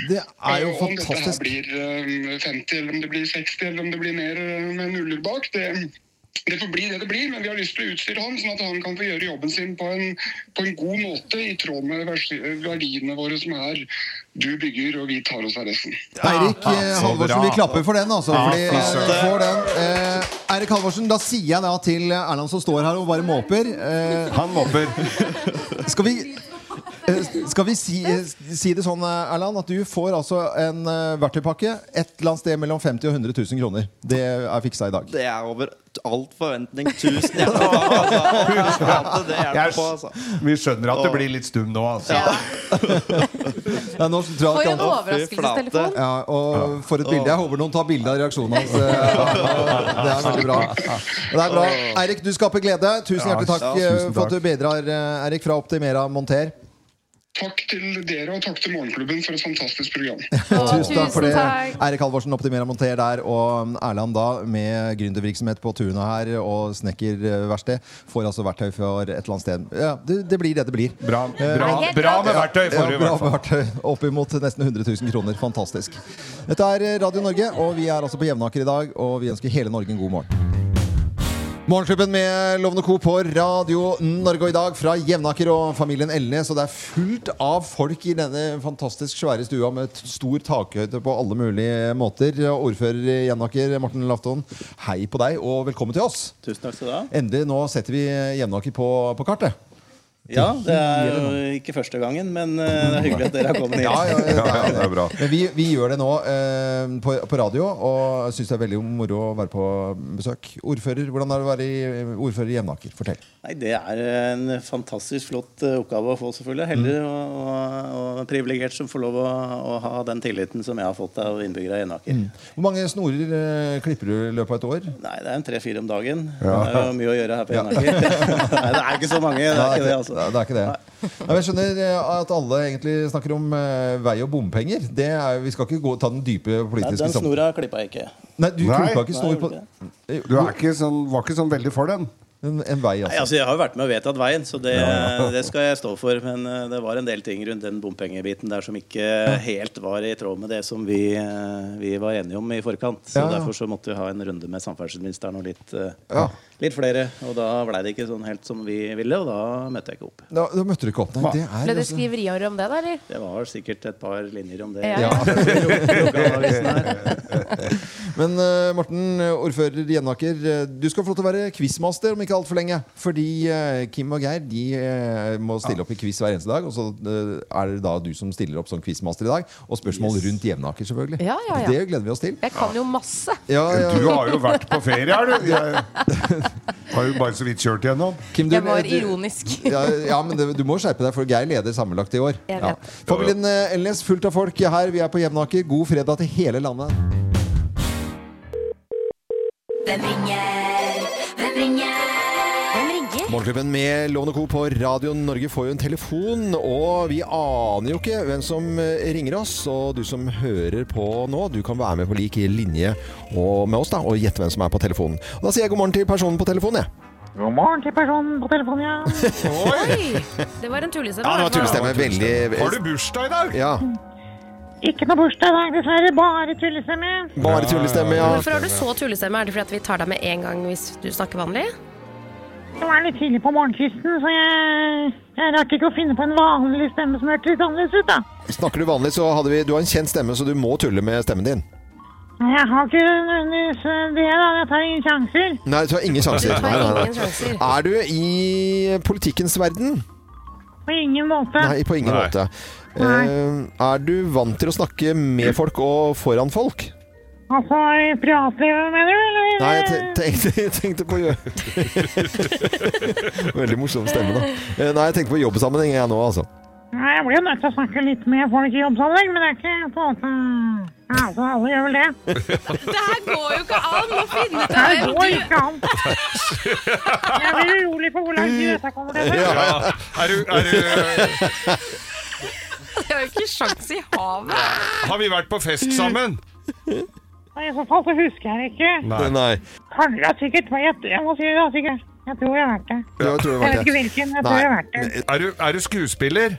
Speaker 1: Det er jo
Speaker 12: Og om dette her
Speaker 1: fantastisk.
Speaker 12: blir eh, 50, eller om det blir 60, eller om det blir mer eh, med nuller bak, det, det får bli det det blir. Men vi har lyst til å utstyre han, sånn at han kan få gjøre jobben sin på en, på en god måte, i tråd med versi- verdiene våre som er du bygger, og vi tar oss av resten.
Speaker 1: Eirik eh,
Speaker 2: så
Speaker 1: Halvorsen,
Speaker 2: bra.
Speaker 1: vi klapper for den, altså.
Speaker 2: Ja,
Speaker 1: Fordi,
Speaker 2: fy
Speaker 1: eh,
Speaker 2: søren.
Speaker 1: får den. Eh, Eirik Halvorsen, da sier jeg da til Erland som står her og bare måper eh,
Speaker 2: Han mobber.
Speaker 1: Skal vi Eh, Skal vi si, eh, si det sånn, eh, Erland, at du får altså en eh, verktøypakke et eller annet sted mellom 50 og 100 000 kroner. Det er fiksa i dag.
Speaker 13: Det er over alt forventning. Tusen hjertelig takk. Altså. At Det hjelper på, altså.
Speaker 2: Vi skjønner at det blir litt stum nå, altså.
Speaker 1: Ja, nå tror jeg
Speaker 13: For
Speaker 1: at
Speaker 13: en
Speaker 1: han-
Speaker 13: overraskelsestelefon.
Speaker 1: Ja, og for et bilde. Jeg håper noen tar bilde av reaksjonen hans. eh, Det er veldig bra. Det er bra. Eirik, du skaper glede. Tusen
Speaker 2: Ja,
Speaker 1: hjertelig takk
Speaker 2: ja,
Speaker 1: eh,
Speaker 2: tusen
Speaker 1: for at du
Speaker 2: takk.
Speaker 1: bedrar, eh, Eirik, fra Optimera Monter.
Speaker 12: Takk til dere, og takk til Morgenklubben for et fantastisk program.
Speaker 1: Tusen takk for det. Eirik Halvorsen, Optimera Monter der, og Erland da, med gründervirksomhet på tunet her og snekkerverksted, får altså verktøy for et eller annet sted. Ja, det, det blir det det blir. Bra,
Speaker 2: bra- Jeg er bra med glad. verktøy får
Speaker 1: Ja,
Speaker 2: du i
Speaker 1: bra
Speaker 2: hvert fall.
Speaker 1: med verktøy. Oppimot nesten 100 000 kroner. Fantastisk. Dette er eh, Radio Norge, og vi er altså på Jevnaker i dag, og vi ønsker hele Norge en god morgen. Morgenklubben med Lovende Co. på Radio Norge og i dag fra Jevnaker og familien Elnes. Og det er fullt av folk i denne fantastisk svære stua med t- stor takhøyde på alle mulige måter. Og Ordfører i Jevnaker, Morten Lafton, hei på deg og velkommen til oss.
Speaker 13: Tusen takk skal du ha.
Speaker 1: Endelig, nå setter vi Jevnaker på, på kartet.
Speaker 13: Ja, det er jo ikke første gangen, men eh, det er hyggelig at dere har kommet hit.
Speaker 1: Ja, ja, ja,
Speaker 2: det er bra.
Speaker 1: Men vi, vi gjør det nå eh, på, på radio, og syns det er veldig moro å være på besøk. Ordfører, hvordan er det å være i, ordfører i Jevnaker? Fortell.
Speaker 13: Nei, Det er en fantastisk flott eh, oppgave å få, selvfølgelig. Heldig og, og, og privilegert som får lov å, å ha den tilliten som jeg har fått av innbyggere i Enaker.
Speaker 1: Hvor mange snorer eh, klipper du i løpet av et år?
Speaker 13: Nei, det er en tre-fire om dagen.
Speaker 1: Ja.
Speaker 13: Det er jo mye å gjøre her på
Speaker 1: Ja.
Speaker 13: Enaker. Nei, det er ikke så mange. Det er ikke det, altså.
Speaker 1: Nei, det er ikke det. Nei, men jeg skjønner eh, at alle egentlig snakker om eh, vei og bompenger. Det er, vi skal ikke gå, ta den dype
Speaker 13: Nei,
Speaker 1: politiske
Speaker 13: den snora klippa jeg ikke.
Speaker 1: liksom. Nei, du
Speaker 13: Nei.
Speaker 1: klippa ikke
Speaker 13: Nei,
Speaker 1: snor
Speaker 13: jeg
Speaker 1: på
Speaker 13: gjorde
Speaker 2: Du er ikke sånn, var ikke sånn veldig for den?
Speaker 1: En, vei,
Speaker 13: Nei, altså, jeg har jo vært med og vedtatt veien, så det, det skal jeg stå for. Men eh, det var en del ting rundt den bompengebiten der som ikke helt var i tråd med det som vi, eh, vi var enige om i forkant. Så
Speaker 1: Ja, ja.
Speaker 13: derfor så måtte vi ha en runde med samferdselsministeren og litt, eh,
Speaker 1: Ja.
Speaker 13: litt flere. Og da blei det ikke sånn helt som vi ville, og da møtte jeg ikke opp.
Speaker 1: Da, da møtte du ikke opp. Nei, det er
Speaker 14: Ble det
Speaker 1: altså-
Speaker 14: skriverier om det, da? eller?
Speaker 13: Det var sikkert et par linjer om det.
Speaker 14: Ja.
Speaker 1: Ja.
Speaker 13: Lokalavisen her.
Speaker 1: Men eh, Morten, eh, ordfører i Jevnaker, eh, du skal få lov til å være quizmaster om ikke altfor lenge. Fordi eh, Kim og Geir de eh, må stille opp i quiz hver eneste dag. Og så eh, er det da du som stiller opp som quizmaster i dag. Og spørsmål rundt Jevnaker, selvfølgelig.
Speaker 14: Ja, ja, ja.
Speaker 1: Det gleder vi oss til.
Speaker 14: Jeg kan jo masse.
Speaker 1: Ja, ja.
Speaker 2: Du har jo vært på ferie, er du? Jeg har jo bare så vidt kjørt gjennom.
Speaker 1: Kim,
Speaker 14: Jeg var ironisk.
Speaker 1: ja, ja, men det, du må skjerpe deg, for Geir leder sammenlagt i år.
Speaker 14: Jeg vet.
Speaker 1: Ja. Familien eh, Elnes, fullt av folk her. Vi er på Jevnaker. God fredag til hele landet.
Speaker 4: Hvem ringer? Hvem ringer? Hvem ringer?
Speaker 15: Morgenklubben med Lovende Co. på Radio Norge får jo en telefon, og vi aner jo ikke hvem som eh, ringer oss. Og du som hører på nå, du kan være med på lik linje og med oss da, og gjette hvem som er på telefonen. Og da sier jeg god morgen til personen på telefonen, jeg.
Speaker 16: God morgen til personen på telefonen, ja.
Speaker 3: Oi! Det var en
Speaker 15: Ja,
Speaker 3: tullestemme.
Speaker 15: det var tullestemme. Veldig
Speaker 2: Har du bursdag i dag?
Speaker 15: Ja.
Speaker 16: Ikke noe bursdag i dag, dessverre. Bare tullestemme.
Speaker 15: Bare tullestemme, ja.
Speaker 3: Hvorfor har du så tullestemme? Er det fordi at vi tar deg med en gang hvis du snakker vanlig?
Speaker 16: Nå er det litt tidlig på morgenkvisten, så jeg, jeg rakk ikke å finne på en vanlig stemme som hørtes litt annerledes ut, da.
Speaker 15: Snakker du vanlig, så hadde vi Du har en kjent stemme, så du må tulle med stemmen din.
Speaker 16: Men Jeg har ikke nødvendigvis eh, det, da. Jeg tar ingen sjanser.
Speaker 15: Nei, du har ingen sjanser.
Speaker 16: Jeg har ingen sjanser.
Speaker 15: Er du i politikkens verden?
Speaker 16: På ingen måte.
Speaker 15: Nei, på ingen måte. Eh, er du vant til å snakke med folk og foran folk?
Speaker 16: Altså, i privatlivet, mener du? Eller?
Speaker 15: Nei, jeg te- tenkte, jeg tenkte på jo- Veldig morsom stemme, da. Eh, Nei, jeg tenkte på jobbsammenheng, jeg nå, altså.
Speaker 16: Nei, jeg blir jo nødt til å snakke litt med folk i jobbsammenheng, men det er ikke på en måte Ja, Altså, alle gjør vel det.
Speaker 4: Det her går jo ikke an å finne
Speaker 16: ut av hvem du- Jeg blir urolig for hvor langt dette kommer til. å ta.
Speaker 2: Ja. Er du, er du,
Speaker 3: Det er jo ikke sjans i havet.
Speaker 2: har vi vært på fest sammen?
Speaker 16: Og I så fall så husker jeg det ikke.
Speaker 2: Nei.
Speaker 16: Kan dere sikkert jeg, jeg må si det, da, sikkert. Jeg tror jeg har vært det.
Speaker 2: Jeg
Speaker 16: det var Jeg vet det. ikke hvilken, jeg tror jeg har vært det.
Speaker 2: Er du, er du skuespiller?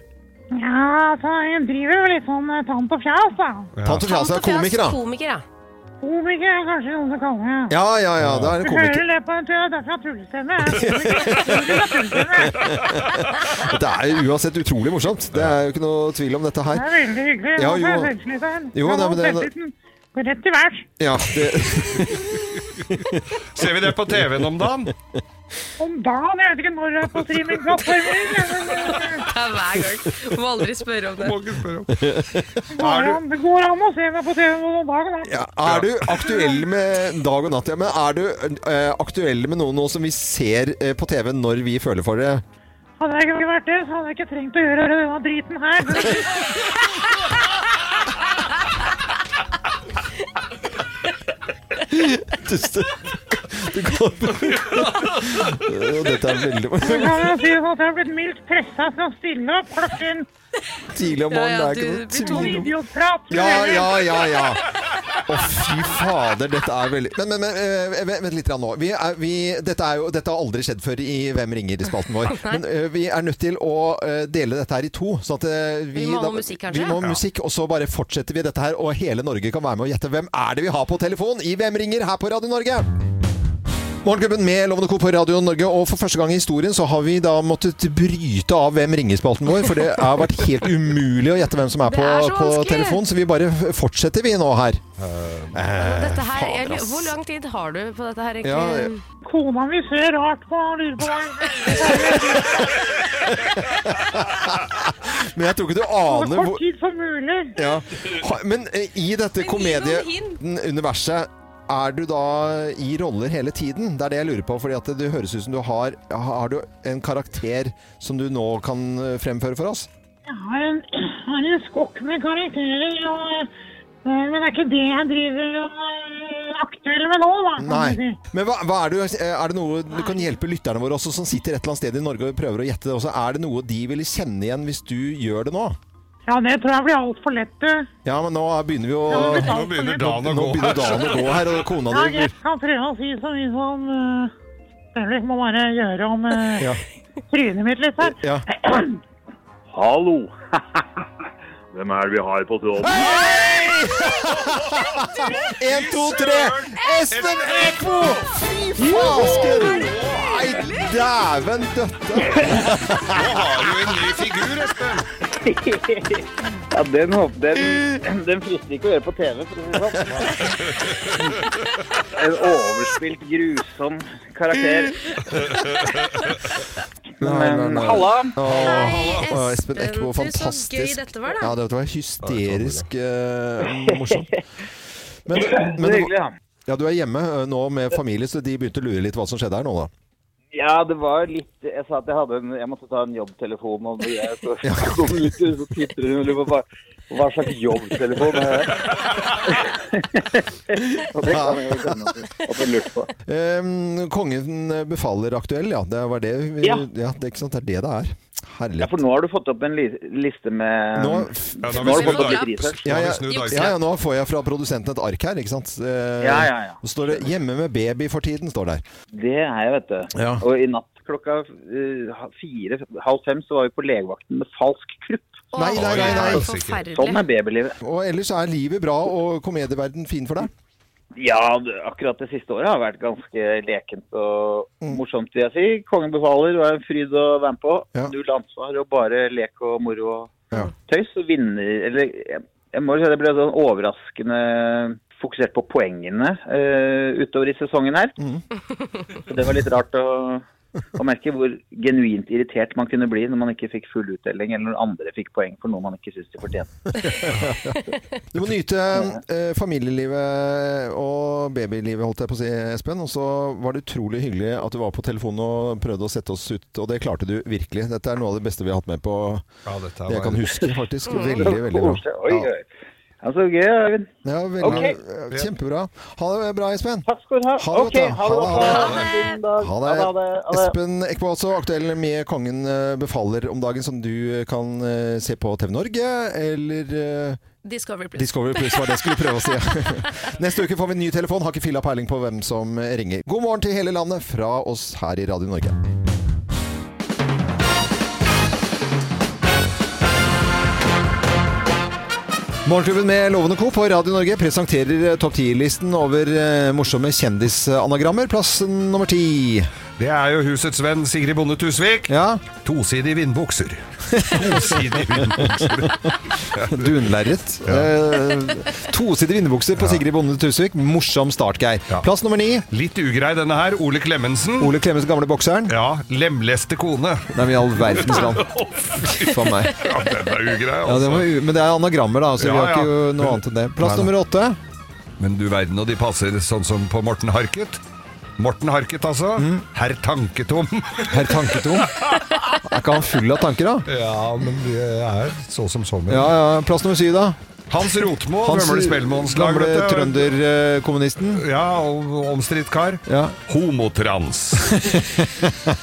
Speaker 16: Ja, altså, jeg driver jo litt sånn eh, tant og fjas, da.
Speaker 15: Tante Fjas er komiker, da.
Speaker 3: Komiker, ja.
Speaker 16: Komiker er kanskje noen som kaller meg.
Speaker 15: Ja, ja, ja, da er
Speaker 16: Du
Speaker 15: det
Speaker 16: hører
Speaker 15: komiker.
Speaker 16: det på en tur, derfor har jeg tullestemme. jeg.
Speaker 15: Dette er jo uansett utrolig morsomt. Det er jo ikke noe tvil om dette
Speaker 16: Det
Speaker 15: her.
Speaker 16: er veldig hyggelig.
Speaker 15: Ja,
Speaker 16: Nå får jeg
Speaker 15: jo.
Speaker 16: selvtillit av henne.
Speaker 15: Jo,
Speaker 16: Ja,
Speaker 15: nei,
Speaker 16: nå
Speaker 15: men det-
Speaker 16: selvtilliten går Rett til værs.
Speaker 15: Ja, det...
Speaker 2: Ser vi det på TV-en om dagen?
Speaker 6: Om dagen, jeg vet ikke når jeg har fått rimelig plattformer.
Speaker 3: Det er hver gang. Må aldri spørre om det. Må ikke spørre om
Speaker 6: Det går an- Det går an å se meg på TV om dagen. da.
Speaker 1: Ja, er du aktuell med dag og natt? Ja, men er du eh, aktuell med noe nå som vi ser eh, på TV når vi føler for det?
Speaker 6: Hadde jeg ikke vært det, så hadde jeg ikke trengt å gjøre denne driten her.
Speaker 1: Tusen Du kan Og Dette er veldig
Speaker 6: Så kan jeg si at jeg har blitt mildt pressa til å stille opp klokken
Speaker 1: Tidlig om morgenen, det er ikke noe tvil om-
Speaker 6: Idiotprat.
Speaker 1: Ja, ja, ja, ja. Å, fy fader, dette er veldig Men, men, men eh, vent, vent litt grann nå. Vi er, vi, dette, er jo, dette har aldri skjedd før i Hvem ringer?-spalten vår.
Speaker 3: Nei.
Speaker 1: Men eh, vi er nødt til å eh, dele dette her i to. Sånn at eh, vi,
Speaker 3: Vi må ha
Speaker 1: da-
Speaker 3: noe musikk, kanskje?
Speaker 1: Vi må ha
Speaker 3: Ja.
Speaker 1: musikk, og så bare fortsetter vi dette her. Og hele Norge kan være med og gjette hvem er det vi har på telefon i Hvem ringer? her på Radio Norge. Morgenklubben med Lovende Co. på Radio Norge, og for første gang i historien så har vi da måttet bryte av Hvem ringer-spalten vår, for det har vært helt umulig å gjette hvem som er
Speaker 3: Det
Speaker 1: på,
Speaker 3: er så
Speaker 1: på
Speaker 3: vanskelig.
Speaker 1: telefon, så vi bare f- fortsetter vi nå her. Eh,
Speaker 3: Dette her, jeg,
Speaker 1: Fader,
Speaker 3: lurer-
Speaker 1: ass.
Speaker 3: hvor lang tid har du på dette her,
Speaker 1: Ja,
Speaker 3: egentlig?
Speaker 1: jeg-
Speaker 6: Kona mi ser rart på og lurer på hva
Speaker 1: altså. Men jeg tror ikke du
Speaker 6: Så
Speaker 1: aner
Speaker 6: kort
Speaker 1: hvor
Speaker 6: tid som mulig.
Speaker 1: ja. Ha- Men eh, i dette komedieuniverset er du da i roller hele tiden? Det er det jeg lurer på. fordi at det høres ut som du har Har du en karakter som du nå kan eh, fremføre for oss?
Speaker 6: Jeg har en, har en skokk med karakterer, og, eh, men det er ikke det jeg driver eh, aktuell med nå, da. kan man
Speaker 1: Nei.
Speaker 6: si.
Speaker 1: Men hva, hva er, det, er det noe du kan hjelpe lytterne våre også, som sitter et eller annet sted i Norge og prøver å gjette det også? Er det noe de ville kjenne igjen hvis du gjør det nå?
Speaker 6: Ja, det tror jeg blir altfor lett, du.
Speaker 1: Ja, men nå begynner vi å
Speaker 6: Ja, men
Speaker 2: Nå begynner dagen å
Speaker 1: Nå
Speaker 2: gå
Speaker 1: begynner
Speaker 2: her.
Speaker 1: dagen å gå her, og kona
Speaker 6: Ja,
Speaker 1: di
Speaker 6: jeg
Speaker 1: blir
Speaker 6: kan prøve å si så mye som eh, Fredrik må bare gjøre om eh,
Speaker 1: Ja.
Speaker 6: trynet mitt litt her.
Speaker 1: Ja.
Speaker 17: Hallo! Hvem er det vi har på tråden?
Speaker 1: En, to, tre! Espen Eckbo! Fy fasken! Nei, dæven døtte!
Speaker 2: Nå har du en ny figur, Espen.
Speaker 15: Ja, den, håper- den, den frister ikke å gjøre på TV. For å si det sånn. En overspilt, grusom karakter. Men halla!
Speaker 1: Hei,
Speaker 3: Espen.
Speaker 1: Espen Eckbo,
Speaker 3: Du, så gøy
Speaker 1: fantastisk.
Speaker 3: dette var, da.
Speaker 1: Ja, det var hysterisk eh, morsomt. Men,
Speaker 15: Så hyggelig, ja.
Speaker 1: ja, du er hjemme eh, nå med familie, så de begynte å lure litt hva som skjedde her nå, da.
Speaker 15: Ja, det var litt Jeg sa at jeg hadde en Jeg måtte ta en jobbtelefon, og jeg så, kom ut, så titter hun og lurer på hva, hva slags jobbtelefon er det Og det kan jeg jo skjønne at du- at du lurte på.
Speaker 1: Ehm, kongen befaler aktuell, ja. Det var det vi, ja.
Speaker 15: Ja.
Speaker 1: det er ikke sant, det er det det er. Herlig.
Speaker 15: Ja, for nå har du fått opp en li liste med
Speaker 1: Nå,
Speaker 15: Um, nå har du fått opp litt research.
Speaker 1: Ja, ja, ja, ja, nå får jeg fra produsenten et ark her, ikke sant. Eh,
Speaker 15: Ja, ja, ja.
Speaker 1: Nå står det 'Hjemme med baby for tiden', står der.
Speaker 15: Det er jeg, vet du.
Speaker 1: Ja.
Speaker 15: Og i natt klokka eh, fire, halv fem, så var vi på legevakten med falsk krupp.
Speaker 1: Nei, nei, nei, nei.
Speaker 15: Sånn er babylivet.
Speaker 1: Og ellers er livet bra og komedieverden fin for deg?
Speaker 15: Ja, det- akkurat det siste året har vært ganske lekent og morsomt, vil jeg si. Kongen befaler var en fryd å være med på. Null ansvar og bare lek og moro og tøys. Og vinner Eller jeg, jeg må jo si det ble sånn overraskende fokusert på poengene eh, utover i sesongen her.
Speaker 1: Mm.
Speaker 15: Så det var litt rart å, å merke hvor genuint irritert man kunne bli når man ikke fikk full utdeling, eller når andre fikk poeng for noe man ikke syns de fortjente.
Speaker 1: Du må nyte eh, familielivet og babylivet, holdt jeg på å si, Espen. Og så var det utrolig hyggelig at du var på telefonen og prøvde å sette oss ut. Og det klarte du virkelig. Dette er noe av det beste vi har hatt med på
Speaker 2: dette
Speaker 1: det jeg
Speaker 2: var-
Speaker 1: kan huske, faktisk. Veldig, veldig bra.
Speaker 15: Mm. Oi,
Speaker 1: Ja.
Speaker 15: oi. Ja, så gøy, Øyvind.
Speaker 1: Ja, veldig, eh, Kjempebra. Ha det bra, Espen.
Speaker 15: Takk skal du ha.
Speaker 1: Ha det
Speaker 15: Ok,
Speaker 1: godt, da.
Speaker 15: ha det godt, da. Ha det. En fin dag.
Speaker 1: Ha
Speaker 15: Ha det, ha
Speaker 1: det.
Speaker 15: det, ha det.
Speaker 1: Espen Eckbo også aktuell med Kongen eh, befaler om dagen, som du eh, kan eh, se på TV Norge eller eh,
Speaker 3: Discovery Plus.
Speaker 1: Discovery Plus var det jeg skulle prøve å si. Neste uke får vi en ny telefon. Har ikke filla peiling på hvem som ringer. God morgen til hele landet fra oss her i Radio Norge. Morgenklubben med Lovende Co. på Radio Norge presenterer topp 10-listen over eh, morsomme kjendisanagrammer. Plass nummer ti.
Speaker 2: Det er jo husets venn Sigrid Bonde Tusvik. Tosidig vindbukser. Tosidig vindbukser.
Speaker 1: Dunlerret. Eh, tosidig vindbukser på Sigrid Bonde Tusvik. Morsom start, Geir. Plass nummer ni.
Speaker 2: Litt ugrei denne her. Ole Klemensen.
Speaker 1: Ole Klemensen, gamle bokseren.
Speaker 2: Ja, lemleste kone.
Speaker 1: Nei, men i all verdens land. For meg.
Speaker 2: Ja, den er ugrei,
Speaker 1: Ja, det
Speaker 2: altså.
Speaker 1: var, u- men det er anagrammer, da, så vi
Speaker 2: Ja,
Speaker 1: har
Speaker 2: ja.
Speaker 1: ikke jo noe annet enn det. Plass
Speaker 2: Nei, nei.
Speaker 1: nummer åtte.
Speaker 2: Men du verden, og de passer sånn som på Morten Harket. Morten Harket, altså. Herr Tanketom.
Speaker 1: Mm. Herr Tanketom? Er ikke han full av tanker, da?
Speaker 2: Ja, men det er så som så.
Speaker 1: Ja, ja. Plass nummer syv, da.
Speaker 2: Hans Rotmo, Rømle Spellemanns lag,
Speaker 1: gamle
Speaker 2: vet du.
Speaker 1: trønderkommunisten.
Speaker 2: Ja, og omstridt kar.
Speaker 1: Ja.
Speaker 2: Homotrans.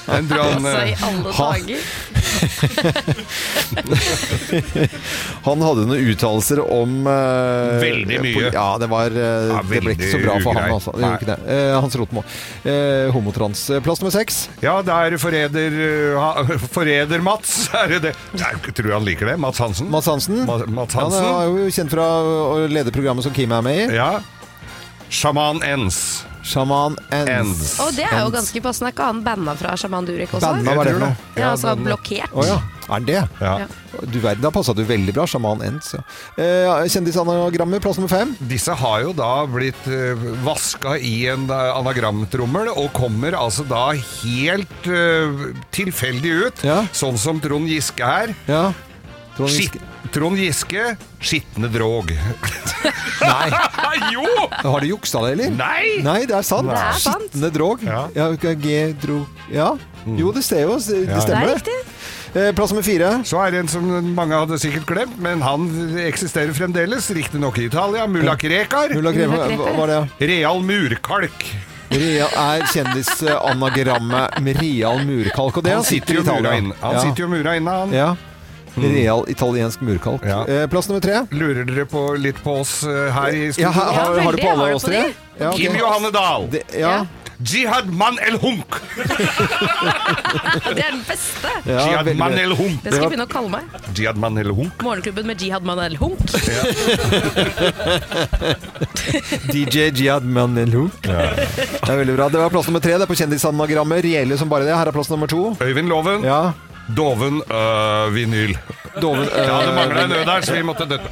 Speaker 2: Den tror han
Speaker 1: Altså, i
Speaker 2: eh,
Speaker 1: alle
Speaker 2: ha-
Speaker 1: dager. Han hadde noen uttalelser om eh,
Speaker 2: Veldig mye.
Speaker 1: poli- Ja, det var eh,
Speaker 2: Ja,
Speaker 1: Det ble ikke så
Speaker 2: veldig
Speaker 1: bra for
Speaker 2: ugreit.
Speaker 1: han, altså. Det gjorde ikke det. Eh, Hans Rotmo. Eh, homotrans. Eh, Plass nummer seks.
Speaker 2: Ja, det er forræder eh, ha- Forræder Mats, er det det? Jeg tror han liker det. Mats Hansen.
Speaker 1: Mats Hansen.
Speaker 2: Ma Mats
Speaker 1: Han
Speaker 2: Hansen.
Speaker 1: er jo kjent fra å lede programmet som Kim er med i.
Speaker 2: Ja. Sjaman Ens.
Speaker 1: Sjaman Ends.
Speaker 3: Og det er jo ganske passende. Er ikke han banna fra Shaman Durek også?
Speaker 1: Banna, hva er det for noe?
Speaker 3: Ja, altså blokkert.
Speaker 1: Å ja. Er det?
Speaker 3: Ja.
Speaker 1: Du verden, da passa du veldig bra. Sjaman Ends. Ja. Eh, Kjendisanagrammer, plass nummer fem.
Speaker 2: Disse har jo da blitt uh, vaska i en eh, anagramtrommel og kommer altså da helt eh, tilfeldig ut. Sånn som Trond Giske her.
Speaker 1: Trond
Speaker 2: Giske. Trond Giske, skitne drog.
Speaker 1: Nei.
Speaker 2: jo!
Speaker 1: Har de juksa det, eller?
Speaker 2: Nei!
Speaker 1: Nei, det er sant.
Speaker 2: Det er sant.
Speaker 1: Skitne drog. Ja. G, dro. ja. Jo, det ser jo.
Speaker 2: Mm. Ja.
Speaker 1: Det stemmer,
Speaker 2: Det
Speaker 1: Plass nummer fire.
Speaker 2: Så er det en som mange hadde sikkert glemt, men han eksisterer fremdeles. Riktignok i Italia. Mulla Krekar.
Speaker 1: Mulla Krekar, Mulla Krekar, hva- hva var det?
Speaker 2: Real Murkalk.
Speaker 1: Rea er kjendisanagrammet med real murkalk. Og det
Speaker 2: Han
Speaker 1: er
Speaker 2: sitter jo
Speaker 1: i Italia.
Speaker 2: mura inne. Han sitter jo Mm. mura inne, han.
Speaker 1: Ja. Real italiensk murkalk. Eh, Plass nummer tre.
Speaker 2: Lurer dere på, litt på oss eh, her i studio?
Speaker 1: Ja, har, har, har du på alle oss tre? Ja, ok.
Speaker 2: Kim Johanne Dahl.
Speaker 1: Det, ja.
Speaker 2: Jihad man el hunk.
Speaker 3: Det er den beste!
Speaker 2: Ja, Jihad veldig bra. Manel Hunk.
Speaker 3: Det skal jeg begynne å kalle meg.
Speaker 2: Jihad man el hunk.
Speaker 3: Morgenklubben med Jihad Manel Hunk.
Speaker 1: DJ Jihad Manelu. Det er veldig bra. Det var plass nummer tre. Det er på kjendisanagrammet. Reelle som bare det. Her er plass nummer to.
Speaker 2: Øyvind Loven.
Speaker 1: Ja.
Speaker 2: Doven øh, vinyl.
Speaker 1: Doven, øh,
Speaker 2: ja, det mangla en ø
Speaker 1: vinyl.
Speaker 2: der, så vi måtte døtte.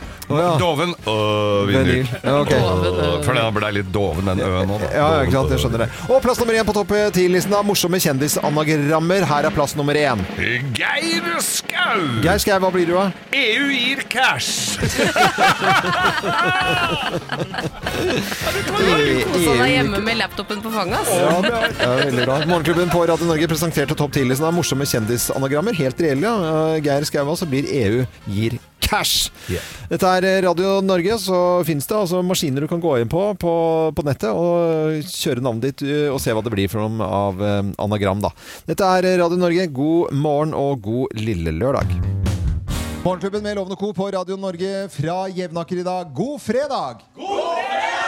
Speaker 2: Doven øh,
Speaker 1: Vinyl.
Speaker 2: vinyl.
Speaker 1: Ja, ok. Doven, øh,
Speaker 2: For den ble litt doven, den øen nå. da.
Speaker 1: Ja, ja, ikke sant, jeg skjønner det.
Speaker 2: Doven,
Speaker 1: Og plass nummer én på topp ti-listen da. Morsomme kjendisanagrammer. Her er plass nummer én.
Speaker 2: øh, Geir Skau!
Speaker 1: Geir Skau, hva blir du av?
Speaker 2: EU gir cash!
Speaker 3: Kosa deg hjemme med laptopen på fanget, altså.
Speaker 1: Ja, det
Speaker 3: ass.
Speaker 1: er det er veldig bra. Morgenklubben på Radio Norge presenterte topp 10-listen av morsomme kjendisanagrammer. Helt reelle. ja. Geir Skau, altså, blir EU gir cash. Dette er eh, Radio Norge, så fins det altså maskiner du kan gå inn på, på på nettet og kjøre navnet ditt eh, og se hva det blir for noe av eh, anagram, da. Dette er eh, Radio Norge. God morgen og god lille lørdag.
Speaker 8: Morgenklubben med Lovende Co. på Radio Norge fra Jevnaker i dag. God fredag! God fredag!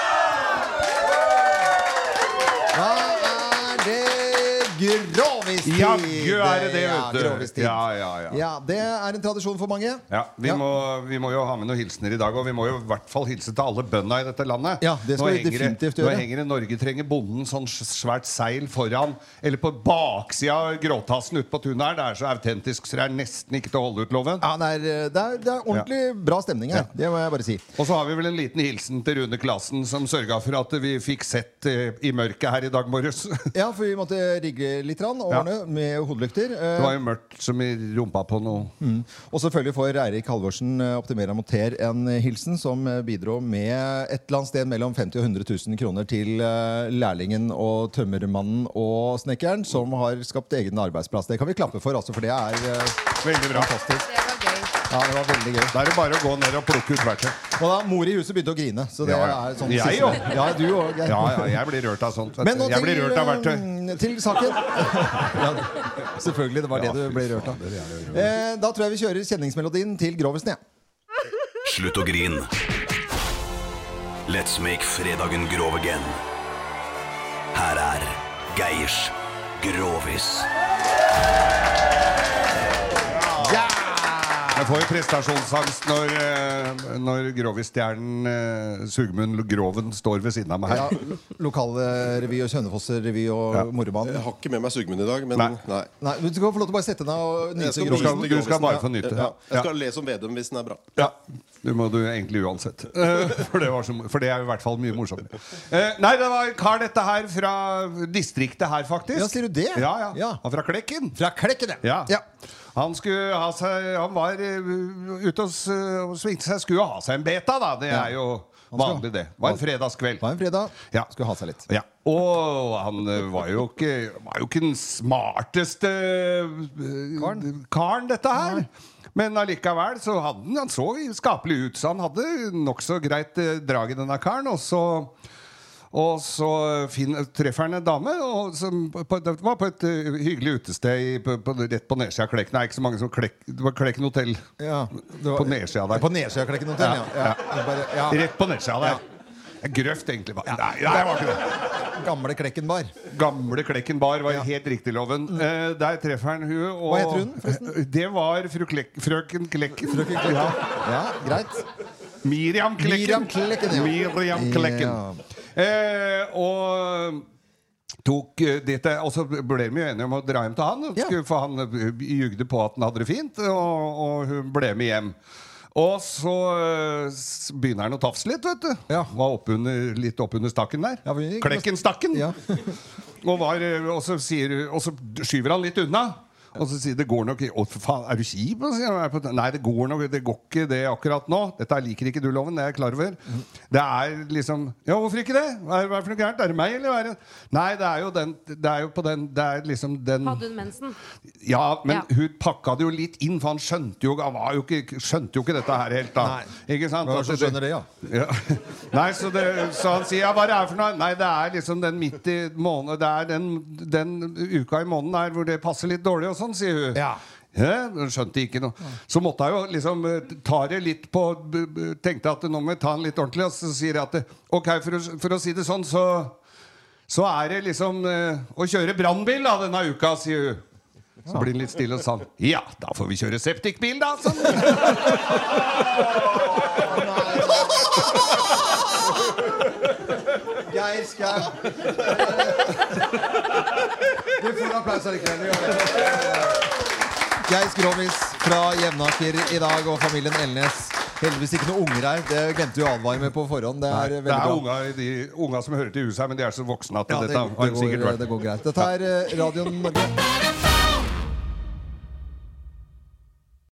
Speaker 8: Da er det grovistid!
Speaker 2: Jaggu er det det,
Speaker 8: Ja,
Speaker 2: vet du.
Speaker 8: grovistid.
Speaker 2: Ja, ja, ja.
Speaker 8: ja, det er en tradisjon for mange.
Speaker 2: Ja, vi, Må, vi må jo ha med noen hilsener i dag, og vi må jo i hvert fall hilse til alle bøndene i dette landet.
Speaker 8: Ja, det skal
Speaker 2: nå
Speaker 8: vi definitivt
Speaker 2: det, nå
Speaker 8: gjøre.
Speaker 2: henger det 'Norge trenger bonden' sånn s- svært seil foran, eller på baksida av gråtassen ute på tunet her. Det er så autentisk, så det er nesten ikke til å holde ut, Loven.
Speaker 8: Ja, det, er, det, er, det er ordentlig bra stemning her. Det må jeg bare si.
Speaker 2: Og så har vi vel en liten hilsen til Rune Klassen, som sørga for at vi fikk sett eh, i mørket her i dag morges.
Speaker 8: Ja, for vi måtte rigge litt rann, og
Speaker 2: Ja.
Speaker 8: ordne med hodelykter.
Speaker 2: Det var jo mørkt som i rumpa på noe.
Speaker 8: Mm. Og selvfølgelig får Eirik Halvorsen, eh, optimerer og monter, en eh, hilsen som eh, bidro med et eller annet sted mellom 50 og 100 000 kroner til eh, lærlingen og tømmermannen og snekkeren som har skapt egen arbeidsplass. Det kan vi klappe for, altså, for det er
Speaker 2: Veldig bra.
Speaker 8: fantastisk. Ja, det var veldig gøy.
Speaker 2: Da er det bare å gå ned og plukke ut verktøy.
Speaker 8: Og da, Mor i huset begynte å grine. Så det
Speaker 2: Ja, ja.
Speaker 8: er sånn
Speaker 2: Jeg
Speaker 8: siste-
Speaker 2: jo.
Speaker 8: Ja, du òg. Geir.
Speaker 2: Ja, ja, jeg blir rørt av sånt. vet
Speaker 8: Men
Speaker 2: du.
Speaker 8: nå
Speaker 2: Jeg blir
Speaker 8: til,
Speaker 2: rørt av verktøy.
Speaker 8: eh, til saken. ja, selvfølgelig. Det var det du ble rørt av. Eh, da tror jeg vi kjører kjenningsmelodien til Grovisen, jeg.
Speaker 18: Slutt å grin. Let's make fredagen grov again. Her er Geirs Grovis.
Speaker 8: Ja!
Speaker 2: Jeg får jo prestasjonsangst når, eh, når Grovis-stjernen eh, Sugemund Groven står ved siden av meg.
Speaker 8: Ja, Lokalrevy og Kjønefoss-revy og Morrebanen.
Speaker 19: Jeg har ikke med meg sugemunn i dag, men nei.
Speaker 8: Nei. Nei, men Du skal få lov til å bare sette deg ned og
Speaker 19: Jeg
Speaker 8: nyte
Speaker 19: skal,
Speaker 8: Grovisen.
Speaker 19: nyte Grovisen,
Speaker 2: få nyte.
Speaker 19: Ja. Ja. Jeg
Speaker 2: Ja.
Speaker 19: skal le som Vedum hvis den er bra.
Speaker 2: Ja. Det må du egentlig uansett. Eh, For det, var så, mo- for det er i hvert fall mye morsommere. Eh, Nei, det var en kar dette her fra distriktet her, faktisk.
Speaker 8: Ja, sier du det?
Speaker 2: Ja, ja. Han fra Klekken.
Speaker 8: Fra Klekken,
Speaker 2: ja. Han skulle ha seg Han var eh, ute og, s- og svingte seg. Skulle ha seg en beta, da. Det
Speaker 8: Ja.
Speaker 2: er jo
Speaker 8: Han skal-
Speaker 2: vanlig, det. Var en fredagskveld.
Speaker 8: Var en fredag.
Speaker 2: Ja.
Speaker 8: Skulle ha seg litt.
Speaker 2: Ja. Og han eh, var jo ikke, var jo ikke den smarteste eh, karen, dette her. Men allikevel så hadde han, han så skapelig ut, så han hadde nokså greit eh, drag i denne karen. Og så, og så fin- treffer han en dame og som på, Det var på et eh, hyggelig utested i, på, på, rett på nedsida av Klekken. Det er ikke så mange som klek, Det var Klekken hotell
Speaker 8: Ja,
Speaker 2: på nedsida der.
Speaker 8: På nedsida av Klekken hotell, ja. ja. Bare, ja.
Speaker 2: Rett på nedsida der. Grøft, egentlig. bare. Nei, nei, det var ikke det.
Speaker 8: Gamle Klekken bar. Mm.
Speaker 2: Gamle Klekken bar var helt riktig, Loven. Eh, der treffer han hun. Og Eh,
Speaker 8: Hva heter hun, forresten?
Speaker 2: Det var fru Klek frøken Klekken. Ja.
Speaker 8: greit.
Speaker 2: Miriam Klekken.
Speaker 8: Miriam Klekken, ja.
Speaker 2: Miriam Klekken. Eh, og tok eh, dette, og så ble vi jo enige om å dra hjem til han. Skulle- For han eh, jugde på at han hadde det fint, og, og hun ble med hjem. Og så eh, s- begynner han å tafse litt, vet du. Var oppunder, litt oppunder stakken der. Klekkenstakken. og, var, eh, og, så sier, og så skyver han litt unna. Og så sier det går nok Å, for faen, er du kjip? Og sier han, «Jeg er på- Nei, det går nok Det går ikke det akkurat nå. Dette liker ikke du, Loven. Det er jeg klar over. Det er liksom Ja, hvorfor ikke det? Hva er hva er det for noe gærent? Er det meg, eller hva er det Nei, det er jo den Det er jo på den Det er liksom den
Speaker 3: Hadde hun mensen?
Speaker 2: ja, men
Speaker 3: Ja.
Speaker 2: hun pakka det jo litt inn, for han skjønte jo, han var jo, ikke, skjønte jo ikke dette her helt. da Ikke sant?
Speaker 8: Hvem er det som
Speaker 2: Altså, At
Speaker 8: skjønner det, ja?
Speaker 2: Ja. Nei, så, det, så han sier ja, 'hva er det her for noe?' Nei, det er liksom den midt i måneden Det er den, den uka i måneden her hvor det passer litt dårlig og sånn, sier hun. Ja. hun skjønte ikke noe. Så måtte jeg jo liksom eh, ta det litt på b- b- Tenkte at nå må jeg ta den litt ordentlig, og så sier jeg at eh, OK, for å, for å si det sånn, så så er det liksom eh, å kjøre brannbil da, denne uka, sier hun. Så blir han litt stille og sånn. Ja, da får vi kjøre septikbil, da! Sånn.
Speaker 8: Geir Skau. Du får en applaus allikevel. du gjør det. Geir Skrovis fra Jevnaker i dag og familien Elnes. Heldigvis ikke noen unger her. Det glemte vi å advare med på forhånd. Det er
Speaker 2: Nei, det
Speaker 8: veldig
Speaker 2: er
Speaker 8: bra.
Speaker 2: unga, i de, unga som hører til huset her, men de er så voksne at
Speaker 8: Ja, det,
Speaker 2: dette
Speaker 8: det,
Speaker 2: har sikkert
Speaker 8: går,
Speaker 2: vært
Speaker 8: det går greit. Dette er eh, Radioen Norge.